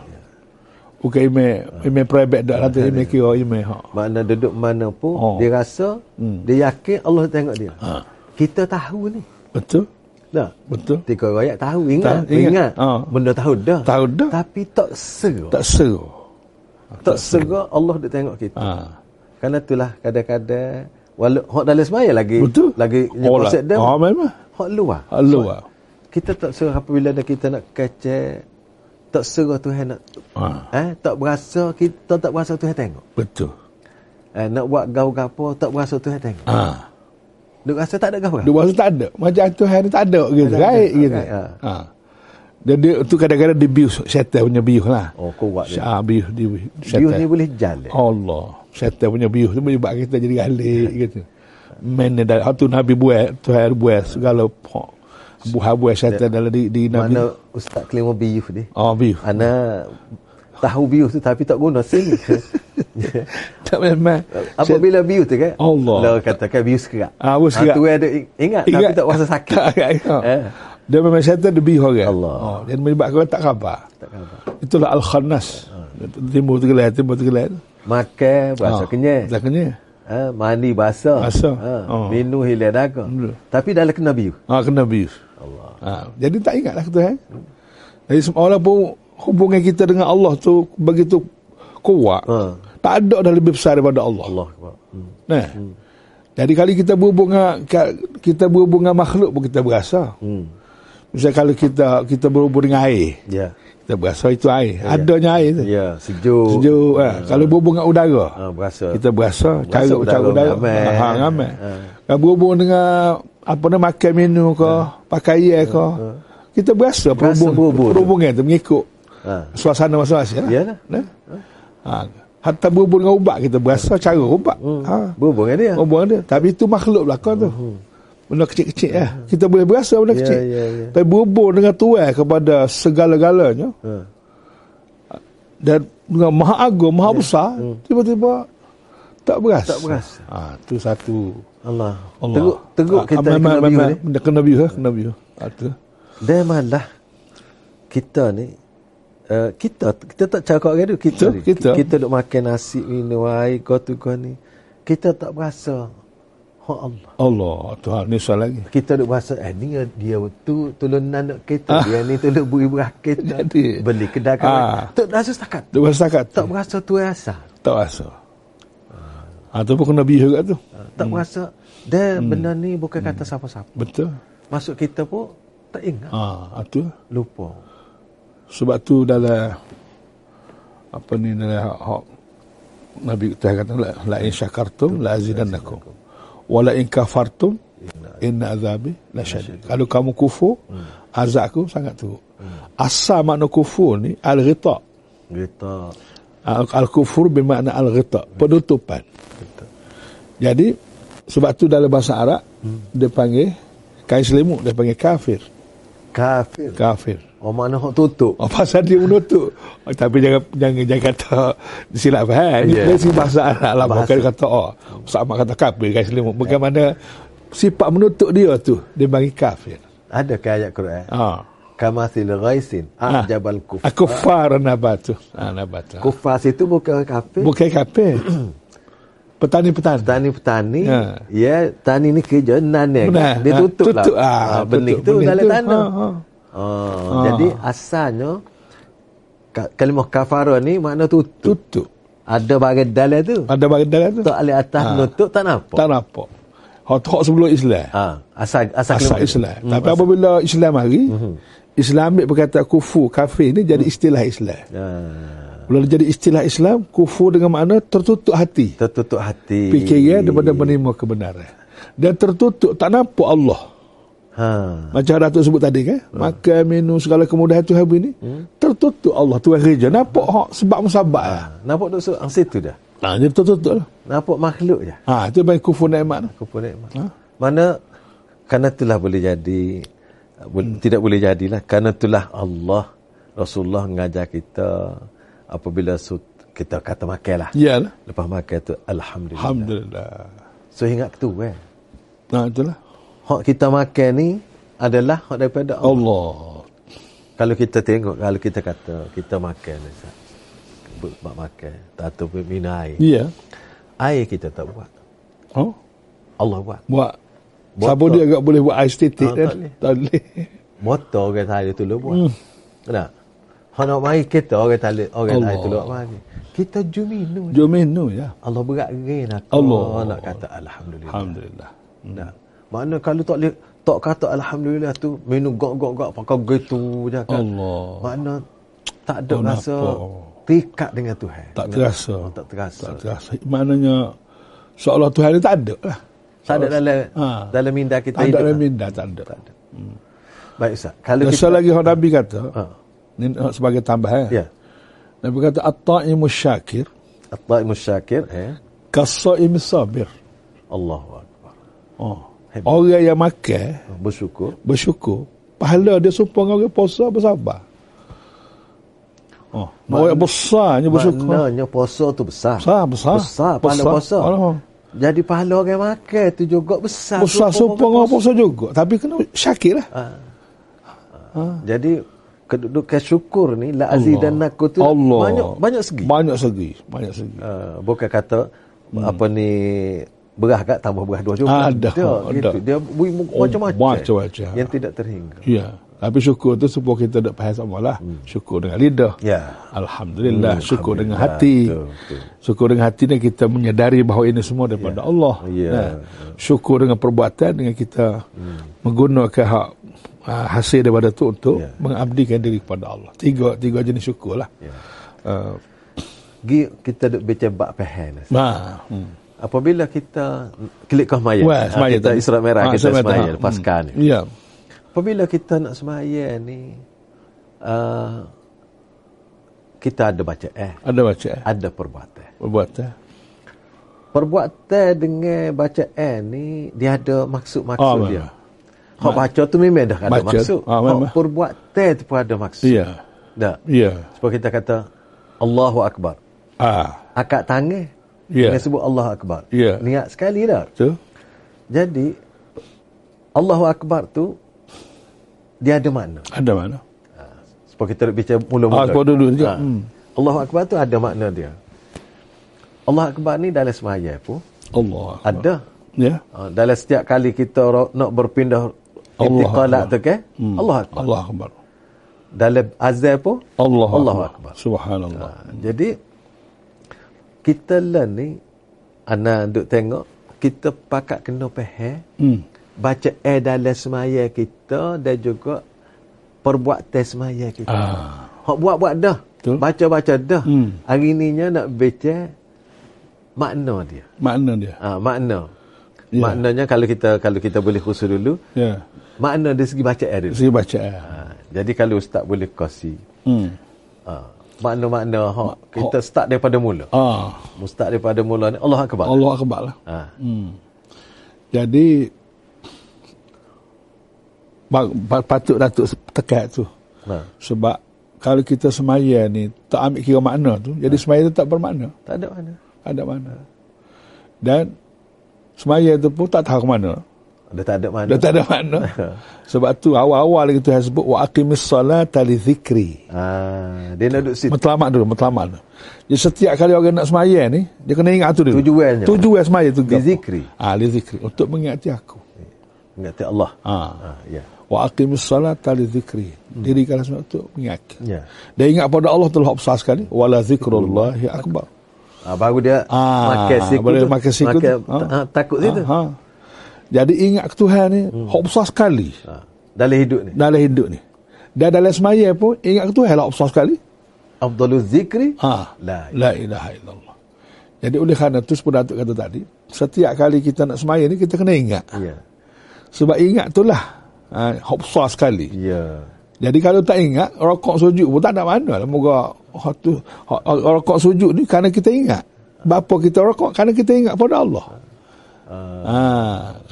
Speaker 4: Bukan iman iman private dak lah tu iman kira iman hak.
Speaker 3: Makna duduk mana pun
Speaker 4: Oh.
Speaker 3: dia rasa dia yakin Allah tengok dia.
Speaker 4: Ha.
Speaker 3: Kita tahu ni.
Speaker 4: Betul?
Speaker 3: Dah.
Speaker 4: Betul.
Speaker 3: Tiga rakyat tahu ingat,
Speaker 4: Tahu, ingat.
Speaker 3: ingat.
Speaker 4: Ah.
Speaker 3: Benda tahu dah.
Speaker 4: Tahu dah.
Speaker 3: Tapi tak serak. Tak,
Speaker 4: Tak seru.
Speaker 3: Ah, tak Ah. serak Allah dia tengok kita.
Speaker 4: Ha.
Speaker 3: Kerana itulah kadang-kadang walau hak dalam semaya lagi
Speaker 4: Betul.
Speaker 3: lagi
Speaker 4: Oh, lah.
Speaker 3: konsep dia.
Speaker 4: Oh, memang.
Speaker 3: Hak luar.
Speaker 4: Hak luar.
Speaker 3: Kita tak serah apabila dah kita nak kecek tak serah Tuhan nak
Speaker 4: Ha.
Speaker 3: eh tak berasa kita tak berasa Tuhan tengok.
Speaker 4: Betul.
Speaker 3: Eh, nak buat gau-gapo tak berasa Tuhan tengok.
Speaker 4: Ha.
Speaker 3: Duk rasa tak ada gau.
Speaker 4: Dia rasa tak ada. Macam tu hari tak ada gitu. Right
Speaker 3: ada.
Speaker 4: gitu.
Speaker 3: Right,
Speaker 4: Ha. Dia, dia tu kadang-kadang dia bius setan punya bius lah.
Speaker 3: Oh kuat dia.
Speaker 4: Ah bius dia bius,
Speaker 3: Dia ni boleh jalan.
Speaker 4: Oh, Allah. Setan punya bius tu boleh buat kita jadi galik gitu. Mana dah hak tu Nabi buat, Tuhan buat segala hak. buah buat setan dalam di, di Nabi.
Speaker 3: Mana Ah. ustaz kelima biuh dia.
Speaker 4: Oh bius.
Speaker 3: Ana tahu biuh tu tapi tak guna sini.
Speaker 4: Tak memang.
Speaker 3: Apabila biuh tu kan
Speaker 4: Allah.
Speaker 3: Dia katakan biuh sekerat
Speaker 4: Ah, bius sekerat.
Speaker 3: tu ada ing- ingat, Tapi tak rasa sakit
Speaker 4: Tak, tak, tak.
Speaker 3: Eh.
Speaker 4: Dia memang syaitan dia bius orang.
Speaker 3: Allah.
Speaker 4: Oh, dia menyebabkan tak khabar.
Speaker 3: Tak khabar. Hmm.
Speaker 4: Itulah Al-Khannas. Timur tergelai, timur tergelai.
Speaker 3: Makan berasa
Speaker 4: Ah,
Speaker 3: kenyang
Speaker 4: Dah kenyang.
Speaker 3: ha, Mandi berasa
Speaker 4: Berasa.
Speaker 3: ha,
Speaker 4: Oh.
Speaker 3: Minum hilir dagang Tapi dalam kena biuh
Speaker 4: Ha, kena bius.
Speaker 3: Allah
Speaker 4: Ha, jadi tak ingatlah tu eh. Jadi semua orang pun hubungan kita dengan Allah tu begitu kuat.
Speaker 3: Ha.
Speaker 4: Tak ada dah lebih besar daripada Allah.
Speaker 3: Allah Akbar. hmm.
Speaker 4: Nah. Jadi kali kita berhubung dengan- ka- kita berhubung dengan makhluk pun kita berasa.
Speaker 3: hmm.
Speaker 4: Misal kalau kita kita berhubung dengan air,
Speaker 3: Ya
Speaker 4: Tak berasa itu air. Adanya air tu.
Speaker 3: Ya, sejuk.
Speaker 4: Sejuk. Ha. Kalau berhubung dengan udara.
Speaker 3: Ha, berasa.
Speaker 4: Kita berasa
Speaker 3: Berasa
Speaker 4: cara
Speaker 3: udara
Speaker 4: cara udara.
Speaker 3: ramai.
Speaker 4: Ha, ramai.
Speaker 3: Ha.
Speaker 4: Kalau berhubung dengan apa nama makan menu ke,
Speaker 3: Ya.
Speaker 4: pakaian ke, kita berasa perhubung,
Speaker 3: berhubung.
Speaker 4: perhubungan tu mengikut
Speaker 3: Ha.
Speaker 4: suasana masing-masing. lah.
Speaker 3: Yalah.
Speaker 4: Ya? Ha. Hatta berhubung dengan ubat kita berasa cara ubat.
Speaker 3: Hmm.
Speaker 4: Ha.
Speaker 3: Berhubung dengan dia.
Speaker 4: Berhubung dia. Tapi itu makhluk belakang tu. Benda kecil-kecil lah. Kita boleh berasa benda
Speaker 3: Hmm. Ya,
Speaker 4: kecil.
Speaker 3: ya, ya.
Speaker 4: Tapi berhubung dengan Tuhan kepada segala-galanya
Speaker 3: Ha.
Speaker 4: dan dengan maha agung, maha besar, tiba-tiba tak
Speaker 3: Ya.
Speaker 4: beras.
Speaker 3: Hmm. Tak berasa.
Speaker 4: Ha, tu satu.
Speaker 3: Allah. Teruk, teruk
Speaker 4: Ah,
Speaker 3: kita
Speaker 4: memang-
Speaker 3: kena view
Speaker 4: memang-
Speaker 3: ni.
Speaker 4: dia Kena view, ha? kena view. Ha, tu.
Speaker 3: Dan malah kita ni uh, kita kita tak cakap dengan dia kita
Speaker 4: Betul,
Speaker 3: ni.
Speaker 4: kita.
Speaker 3: kita duk makan nasi minum air kau tu kau ni kita tak berasa ha Allah
Speaker 4: Allah, Tuhan ni soal lagi.
Speaker 3: kita duk berasa eh ni dia tu tulunan nak kita dia ni tu duk beri beras kita
Speaker 4: Ah. Jadi.
Speaker 3: beli kedai kan
Speaker 4: Ah.
Speaker 3: tak rasa setakat
Speaker 4: Dia berasa kat tu.
Speaker 3: tak berasa tu asal
Speaker 4: Tak berasa. Ha, tu pun kena view juga tu.
Speaker 3: tak berasa dia
Speaker 4: Hmm.
Speaker 3: benda ni bukan kata siapa-siapa
Speaker 4: Betul.
Speaker 3: masuk kita pun tak ingat
Speaker 4: Ha, tu.
Speaker 3: lupa
Speaker 4: Sebab tu dalam apa ni dalam hak Nabi kita kata la, la in syakartum la azidannakum wa la in kafartum inna azabi la syadid. Kalau kamu kufur azabku sangat teruk. Asal makna kufur ni al-ghita.
Speaker 3: kita
Speaker 4: Al- Al-kufur bermakna al-ghita, penutupan. Jadi sebab tu dalam bahasa Arab dia panggil kain selimut dia panggil kafir.
Speaker 3: kafir
Speaker 4: Kafir.
Speaker 3: oh makna hak tutup
Speaker 4: Oh, pasal dia menutup. Oh, tapi jangan jangan jangan kata silap kan? faham.
Speaker 3: Ya.
Speaker 4: Yeah. Dari segi bahasa Arab lah.
Speaker 3: Bahasa. Ya.
Speaker 4: Bukan kata oh. Sama kata kafir guys selimut. Bagaimana sifat menutup dia tu dia bagi kafir.
Speaker 3: ada ke ayat Quran
Speaker 4: Ha.
Speaker 3: kamathil ghaisin
Speaker 4: Ah.
Speaker 3: ajabal Ah, kufar
Speaker 4: Kufar nabatu. Ha, nabatu.
Speaker 3: kufar situ bukan kafir
Speaker 4: Bukan kafir. Petani-petani.
Speaker 3: petani-petani
Speaker 4: Ya.
Speaker 3: ya tani ni kerja nan dia
Speaker 4: Benar.
Speaker 3: dia
Speaker 4: Ha,
Speaker 3: tutup,
Speaker 4: tutup.
Speaker 3: lah
Speaker 4: Ah,
Speaker 3: ha, benih
Speaker 4: tutup.
Speaker 3: tu
Speaker 4: Benih
Speaker 3: dalam
Speaker 4: tu,
Speaker 3: tanah
Speaker 4: ha, ha.
Speaker 3: Oh, jadi asalnya ka- kalimah kafara ni makna tutup
Speaker 4: Tutup.
Speaker 3: ada bagai dalil tu
Speaker 4: Ada bagi dalam tu. Ha.
Speaker 3: tak alih atas menutup tak nampak
Speaker 4: Tak nampak. Hak-hak sebelum Islam.
Speaker 3: ha, asal Hmm, asal, Mhm.
Speaker 4: asal
Speaker 3: kalimah tu.
Speaker 4: Islam. Tapi apabila Islam hari, Islam ambil perkataan kufur, kafir ni jadi istilah Islam.
Speaker 3: ha,
Speaker 4: Bila dia jadi istilah Islam, kufur dengan makna tertutup hati.
Speaker 3: tertutup hati
Speaker 4: Fikiran daripada menerima kebenaran. Dan tertutup, tak nampak Allah.
Speaker 3: ha
Speaker 4: Macam Datuk sebut tadi kan, makan, minum, segala kemudahan Tuhan beri ni, tertutup Allah. Tuhan kerja. Nampak hak sebab musabak lah.
Speaker 3: nampak duk so- situ dah
Speaker 4: Ha, dia tertutup lah.
Speaker 3: nampak makhluk je
Speaker 4: Ha, itu bagi kufur nikmat.
Speaker 3: Aku pun nikmat. Ha? Mana kerana itulah boleh jadi hmm. tidak boleh jadilah kerana itulah Allah Rasulullah mengajar kita apabila sut, kita kata makanlah.
Speaker 4: Iyalah.
Speaker 3: Lepas makan tu alhamdulillah.
Speaker 4: Ya. lah. Alhamdulillah.
Speaker 3: So ingat tu eh.
Speaker 4: Ha, itulah.
Speaker 3: Hak kita makan ni adalah hak daripada Allah.
Speaker 4: Allah.
Speaker 3: Kalau kita tengok kalau kita kata kita makan Ustaz. Sebut bab makan atau minum air.
Speaker 4: Ya.
Speaker 3: Air kita tak buat.
Speaker 4: Oh.
Speaker 3: Allah buat.
Speaker 4: Buat.
Speaker 3: Buat
Speaker 4: Siapa
Speaker 3: tak?
Speaker 4: dia agak boleh buat air statik
Speaker 3: Ah,
Speaker 4: kan?
Speaker 3: tak boleh.
Speaker 4: Tak boleh.
Speaker 3: Motor orang Thailand tu lu buat. Hmm. Tak? Hak nak mari kita orang Thailand, orang Thailand tu lu
Speaker 4: Allah.
Speaker 3: nak mari. Kita jum minum.
Speaker 4: Jom minum ya.
Speaker 3: Allah berat gerin aku.
Speaker 4: Allah.
Speaker 3: nak kata alhamdulillah.
Speaker 4: Alhamdulillah.
Speaker 3: Nah. Makna kalau tak boleh tak kata alhamdulillah tu minum gok gok gok pakai gitu je kan.
Speaker 4: Allah.
Speaker 3: Makna tak ada
Speaker 4: Oh,
Speaker 3: rasa
Speaker 4: nampak.
Speaker 3: terikat dengan Tuhan.
Speaker 4: Tak
Speaker 3: Dengan-
Speaker 4: terasa.
Speaker 3: Oh, tak terasa.
Speaker 4: Tak terasa. Maknanya seolah Tuhan ni tak ada lah.
Speaker 3: Tak ada dalam
Speaker 4: Ha.
Speaker 3: dalam minda kita
Speaker 4: Tak ada
Speaker 3: hidup,
Speaker 4: dalam
Speaker 3: kan?
Speaker 4: minda, tak ada.
Speaker 3: Tak ada. Hmm. Baik Ustaz. Kalau
Speaker 4: Dan
Speaker 3: kita
Speaker 4: sekali lagi orang Nabi kata,
Speaker 3: Ha.
Speaker 4: ni sebagai tambahan.
Speaker 3: ya.
Speaker 4: Nabi kata, At-ta'imu syakir,
Speaker 3: At-taimu syakir eh.
Speaker 4: kas-sa'imu sabir.
Speaker 3: Allahu akbar.
Speaker 4: Oh.
Speaker 3: Hebat.
Speaker 4: Orang yang makan,
Speaker 3: Bersyukur.
Speaker 4: bersyukur, pahala dia sumpah dengan orang puasa bersabar. Oh. Orang besarnya bersyukur.
Speaker 3: Maknanya puasa tu besar.
Speaker 4: Besar, besar.
Speaker 3: Besar, pahala
Speaker 4: Besar.
Speaker 3: puasa.
Speaker 4: Allah.
Speaker 3: Jadi pahala orang makan tu juga besar. Sumpah
Speaker 4: Puasa sumpah
Speaker 3: orang Ah,
Speaker 4: dengan puasa juga. Tapi kena syakir lah.
Speaker 3: puasa. Jadi kedudukan syukur ni la azidannakum tu
Speaker 4: Allah.
Speaker 3: banyak banyak segi.
Speaker 4: Banyak segi. Banyak segi.
Speaker 3: Uh, bukan kata apa ni berah kat tambah berah dua juga.
Speaker 4: Hmm. Ada,
Speaker 3: Dia,
Speaker 4: ada.
Speaker 3: Gitu. Dia beri
Speaker 4: Oh,
Speaker 3: macam-macam.
Speaker 4: macam-macam.
Speaker 3: Yang tidak terhingga.
Speaker 4: Ya. Tapi syukur tu semua kita tak faham sama lah. Syukur dengan lidah.
Speaker 3: Hmm. Ya.
Speaker 4: Alhamdulillah.
Speaker 3: Hmm,
Speaker 4: syukur dengan
Speaker 3: Alhamdulillah.
Speaker 4: hati.
Speaker 3: Betul, betul.
Speaker 4: Syukur dengan hati ni kita menyedari bahawa ini semua daripada Allah.
Speaker 3: Ya. Hmm.
Speaker 4: Syukur dengan perbuatan dengan kita menggunakan hak uh, hasil daripada tu
Speaker 3: Ya.
Speaker 4: untuk yeah. mengabdikan diri kepada Allah. Tiga tiga jenis syukur lah.
Speaker 3: Ya.
Speaker 4: Uh,
Speaker 3: Gi kita duk baca bab pehan.
Speaker 4: nah, hmm.
Speaker 3: Apabila kita klik kau sembahyang,
Speaker 4: Wah,
Speaker 3: ha,
Speaker 4: semaya
Speaker 3: kita Isra Merah kita sembahyang lepaskan.
Speaker 4: Ah, Hmm. Ya.
Speaker 3: Apabila kita nak sembahyang ni uh, kita ada baca eh,
Speaker 4: Ada baca eh?
Speaker 3: ada perbuatan.
Speaker 4: Buat eh?
Speaker 3: Perbuatan dengan bacaan ni dia ada maksud-maksud
Speaker 4: Ah,
Speaker 3: oh, dia.
Speaker 4: memang.
Speaker 3: Hak baca tu memang dah ada
Speaker 4: Baca.
Speaker 3: maksud. Hak
Speaker 4: Ah, memang.
Speaker 3: perbuatan tu pun ada maksud.
Speaker 4: Ya.
Speaker 3: Tak.
Speaker 4: Ya.
Speaker 3: Sebab kita kata Allahu akbar.
Speaker 4: Ah.
Speaker 3: Akak tangan.
Speaker 4: Ya.
Speaker 3: Dengan sebut Allahu akbar.
Speaker 4: Ya.
Speaker 3: Niat sekali dah.
Speaker 4: Tu.
Speaker 3: Jadi Allahu akbar tu dia ada makna.
Speaker 4: Ada mana?
Speaker 3: Sebab kita nak bicara mula-mula.
Speaker 4: Ah, kau dulu juga. Hmm.
Speaker 3: Allahu akbar tu ada makna dia. Allahu akbar ni dalam sembahyang pun
Speaker 4: Allah.
Speaker 3: ada.
Speaker 4: Ya.
Speaker 3: Ha, dalam setiap kali kita ro- nak berpindah intiqalat
Speaker 4: Akbar.
Speaker 3: tu kan hmm. Allah akbar
Speaker 4: Allah Akbar.
Speaker 3: dalam azan pun
Speaker 4: Allah
Speaker 3: Allahu akbar.
Speaker 4: Akbar. Subhanallah.
Speaker 3: Ha, jadi kita learn ni ana duk tengok kita pakat kena faham
Speaker 4: Hmm.
Speaker 3: baca eh dalam semaya kita dan juga perbuatan semaya kita.
Speaker 4: Ah.
Speaker 3: Hak buat-buat dah.
Speaker 4: Betul.
Speaker 3: Baca-baca dah.
Speaker 4: Hmm.
Speaker 3: Hari ninya nak baca makna dia.
Speaker 4: Makna dia.
Speaker 3: Ha, makna.
Speaker 4: Ya.
Speaker 3: Maknanya kalau kita kalau kita boleh khusus dulu,
Speaker 4: Ya.
Speaker 3: makna dari segi bacaan dulu.
Speaker 4: Saya baca. eh?
Speaker 3: Ha, jadi kalau ustaz boleh kasi
Speaker 4: Hmm.
Speaker 3: ha, makna-makna hak kita start daripada mula.
Speaker 4: Ah.
Speaker 3: Mustad daripada mula ni Allah akbar.
Speaker 4: Allah Akbar lah.
Speaker 3: Ha.
Speaker 4: Jadi ba- ba- patut Datuk tekat tu.
Speaker 3: Ha.
Speaker 4: Sebab kalau kita semaya ni tak ambil kira makna tu, jadi semaya tu tak bermakna.
Speaker 3: Tak ada mana.
Speaker 4: Tak ada makna. Dan semaya tu pun tak tahu ke mana.
Speaker 3: Dah tak ada mana.
Speaker 4: Dah tak ada makna. Sebab tu awal-awal lagi Tuhan sebut wa aqimis salata li zikri.
Speaker 3: Ha, dia nak duduk situ.
Speaker 4: Matlamat dulu, matlamat dulu. Jadi setiap kali orang nak semaya ni, dia kena ingat tu dulu.
Speaker 3: Tujuannya.
Speaker 4: Tujuan semaya tu.
Speaker 3: Li zikri.
Speaker 4: Ah, li zikri. Untuk mengingati aku.
Speaker 3: Ingat Allah.
Speaker 4: Ah.
Speaker 3: Ha, ya.
Speaker 4: Wa aqimis salata li dzikri. Dirikanlah solat tu mengingat.
Speaker 3: Hmm. Ya.
Speaker 4: Dia ingat pada Allah telah besar sekali. Wala zikrullahi akbar.
Speaker 3: Ha, baru dia
Speaker 4: Ah,
Speaker 3: makan siku
Speaker 4: boleh
Speaker 3: tu.
Speaker 4: makan siku
Speaker 3: makan,
Speaker 4: tu. Ha.
Speaker 3: ha, takut situ. Ha.
Speaker 4: Ha. Jadi ingat ke Tuhan ni hmm. hak besar sekali
Speaker 3: Ha. Dalam hidup ni.
Speaker 4: dalam hidup ni. Dan dalam semaya pun ingat ke Tuhan hak besar sekali.
Speaker 3: Abdulul zikri.
Speaker 4: Ha.
Speaker 3: La
Speaker 4: La ilaha illallah. Jadi oleh kerana tu seperti Datuk kata tadi, setiap kali kita nak semaya ni kita kena ingat.
Speaker 3: Ya.
Speaker 4: Sebab ingat itulah ha, hak besar sekali.
Speaker 3: Ya.
Speaker 4: Jadi kalau tak ingat, rokok sujud pun tak ada mana lah. Moga hak tu, hak- hak- rokok sujud ni kerana kita ingat. Bapa kita rokok kerana kita ingat pada Allah. Ha.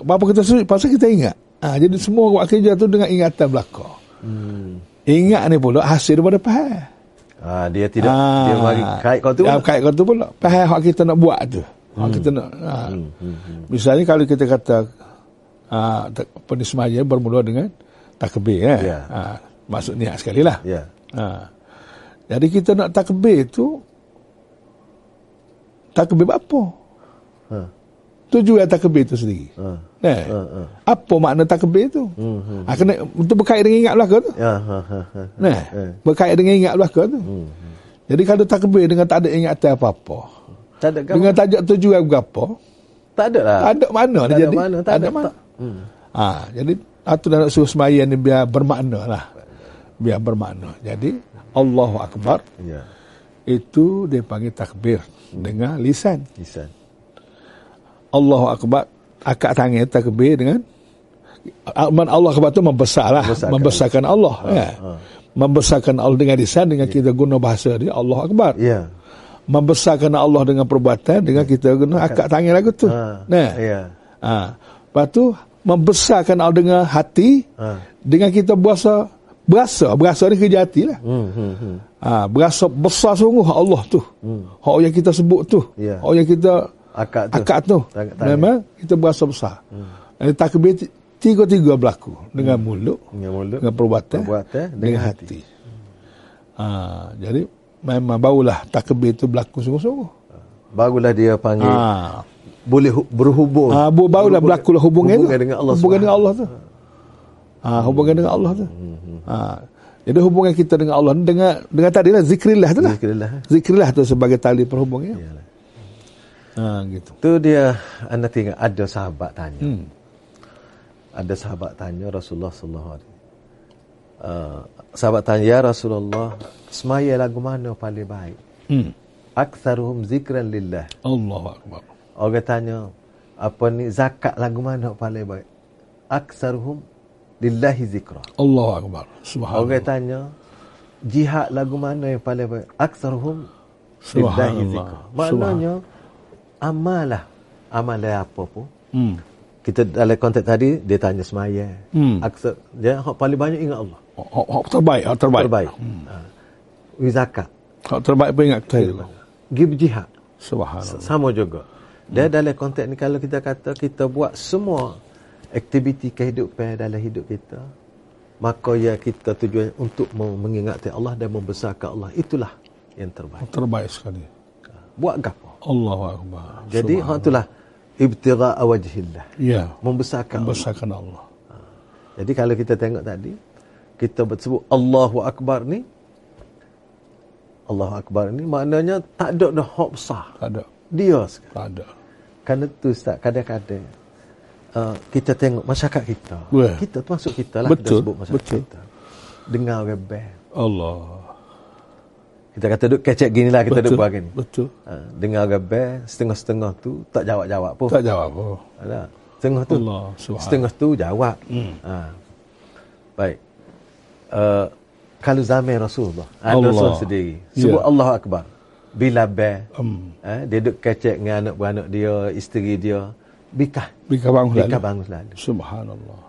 Speaker 4: Bapa kita sujud pasal kita ingat. Ha, jadi semua buat kerja tu dengan ingatan belaka.
Speaker 3: Hmm.
Speaker 4: Ingat ni pula hasil daripada pahal.
Speaker 3: Ha, dia tidak dia mari kait kau tu. Hmm.
Speaker 4: Ah. Ya,
Speaker 3: pula.
Speaker 4: kait kau tu pula. Pahal hak kita nak buat tu. Hak kita nak. Ha.
Speaker 3: hmm,
Speaker 4: Misalnya kalau kita kata ha, tak- apa ni semaya bermula dengan takbir. Eh?
Speaker 3: Ya.
Speaker 4: Ha. Maksud niat sekali lah.
Speaker 3: Ya.
Speaker 4: Ha. Jadi kita nak takbir tu takbir buat apa?
Speaker 3: Ha.
Speaker 4: Tujuan takbir tu sendiri.
Speaker 3: Ha.
Speaker 4: Eh.
Speaker 3: Ha, ha.
Speaker 4: Apa makna takbir tu?
Speaker 3: Hmm, hmm.
Speaker 4: Ha, kena untuk berkait dengan ingat belaka tu.
Speaker 3: Ya, ha, ha, ha.
Speaker 4: Nah,
Speaker 3: Eh. Hmm,
Speaker 4: berkait dengan ingat belaka tu. Jadi kalau takbir dengan tak ada ingatan apa-apa.
Speaker 3: Tak ada
Speaker 4: Dengan
Speaker 3: gambar.
Speaker 4: tajuk tujuan berapa?
Speaker 3: Tak ada lah.
Speaker 4: Tak ada mana
Speaker 3: Tak
Speaker 4: dia
Speaker 3: ada
Speaker 4: jadi.
Speaker 3: mana, tak ada- tak-
Speaker 4: Hmm. Ha, jadi atau nak suruh sembahyang ni biar bermakna lah. Biar bermakna. Jadi Allahu Akbar
Speaker 3: Ya.
Speaker 4: itu dia panggil takbir dengan lisan.
Speaker 3: Lisan.
Speaker 4: Allahu Akbar akak tangan takbir dengan Aman Allah Akbar itu membesarlah,
Speaker 3: Membesarkan. Ah,
Speaker 4: membesarkan, membesarkan Allah. ya. Membesarkan Allah dengan lisan dengan kita guna bahasa dia Allah Akbar.
Speaker 3: Ya.
Speaker 4: Membesarkan Allah dengan perbuatan dengan kita guna akak tangan lagu tu.
Speaker 3: Ha.
Speaker 4: Nah.
Speaker 3: Ya.
Speaker 4: Ha. Lepas tu membesarkan Allah dengan hati
Speaker 3: Ha.
Speaker 4: dengan kita berasa berasa berasa ni kerja hati lah.
Speaker 3: Hmm, hmm, hmm.
Speaker 4: Ha, berasa besar sungguh hak Allah tu. Hmm. Hak yang kita sebut tu.
Speaker 3: Ya.
Speaker 4: Hak yang kita
Speaker 3: Akak tu.
Speaker 4: akad tu.
Speaker 3: Tangan- tangan.
Speaker 4: Memang kita berasa besar. Hmm. takbir ti- tiga-tiga berlaku dengan mulut,
Speaker 3: Hmm. Dengan mulut.
Speaker 4: dengan perbuatan,
Speaker 3: Perbuatan, dengan
Speaker 4: hati. Ha, jadi memang barulah takbir tu berlaku sungguh-sungguh.
Speaker 3: Barulah dia panggil
Speaker 4: Ha.
Speaker 3: boleh hu- berhubung.
Speaker 4: Ah, bu- barulah berlakulah hubungan,
Speaker 3: Hmm. hubungan
Speaker 4: tu.
Speaker 3: dengan Allah.
Speaker 4: hubungan dengan
Speaker 3: SWT.
Speaker 4: Allah tu. Ah, hubungan dengan Allah
Speaker 3: Hmm,
Speaker 4: tu. Ah, jadi hubungan kita dengan Allah ni dengan dengan tadilah zikrillah tu lah.
Speaker 3: Zikrillah.
Speaker 4: Zikrillah tu sebagai tali perhubungan. Ya.
Speaker 3: Iyalah.
Speaker 4: Ah, gitu.
Speaker 3: Tu dia anda tengok ada sahabat tanya.
Speaker 4: Hmm.
Speaker 3: Ada sahabat tanya Rasulullah sallallahu alaihi wasallam. Uh, sahabat tanya, Ya Rasulullah, semaya lagu mana paling baik?
Speaker 4: Hmm.
Speaker 3: Aktsaruhum zikran lillah.
Speaker 4: Allahu akbar.
Speaker 3: Orang tanya, apa ni zakat lagu mana paling baik? Aktsaruhum lillahi zikra.
Speaker 4: Allahu akbar. Subhanallah.
Speaker 3: Orang tanya, jihad lagu mana yang paling baik? Aktsaruhum lillahi
Speaker 4: Subhanallah.
Speaker 3: zikra. Maknanya amalah amalah apa pun
Speaker 4: Hmm.
Speaker 3: kita dalam konteks tadi dia tanya semaya.
Speaker 4: Hmm.
Speaker 3: Aksar dia hak paling banyak ingat Allah.
Speaker 4: Hak- Hak hak terbaik, hak terbaik.
Speaker 3: Terbaik. Hmm. Ha. Pergi zakat,
Speaker 4: Hak terbaik pun ingat kita. Allah.
Speaker 3: pergi berjihad.
Speaker 4: Subhanallah.
Speaker 3: Sama juga. Dia dalam konteks ni kalau kita kata kita buat semua aktiviti kehidupan dalam hidup kita, maka ya kita tujuan untuk mem- mengingati Allah dan membesarkan Allah. Itulah yang
Speaker 4: Hak
Speaker 3: terbaik.
Speaker 4: terbaik sekali.
Speaker 3: Buat gapo?
Speaker 4: Allahu akbar.
Speaker 3: Jadi hak itulah ibtigha wajhillah.
Speaker 4: Ya.
Speaker 3: Membesarkan Allah.
Speaker 4: Membesarkan Allah.
Speaker 3: Jadi kalau kita tengok tadi, kita sebut Allahu Akbar ni, Allahu Akbar ni maknanya tak ada dah hak besar.
Speaker 4: Tak ada.
Speaker 3: Dia sekali.
Speaker 4: Tak ada.
Speaker 3: Kerana tu Ustaz, kadang-kadang uh, kita tengok masyarakat kita.
Speaker 4: Weh.
Speaker 3: Kita termasuk kita lah.
Speaker 4: Betul,
Speaker 3: Kita sebut masyarakat
Speaker 4: betul.
Speaker 3: kita. Dengar orang band.
Speaker 4: Allah.
Speaker 3: Kita kata duduk kecek gini lah, kita duduk buat gini.
Speaker 4: Betul.
Speaker 3: Uh, dengar orang band, setengah-setengah tu tak jawab-jawab pun.
Speaker 4: Tak jawab. Oh.
Speaker 3: Alah, setengah tu.
Speaker 4: Allah, subhanallah.
Speaker 3: Setengah tu jawab. Hmm. Ha. Baik. Uh, kalau zaman Rasulullah, ada
Speaker 4: Allah.
Speaker 3: Rasul sendiri. Sebut
Speaker 4: Ya.
Speaker 3: Allah Akbar. Bila be.
Speaker 4: Hmm.
Speaker 3: Ha, dia duduk kecek dengan anak-anak dia, isteri dia. Bikah.
Speaker 4: Bika bangun
Speaker 3: Bikah
Speaker 4: lalu.
Speaker 3: bangun selalu.
Speaker 4: Subhanallah.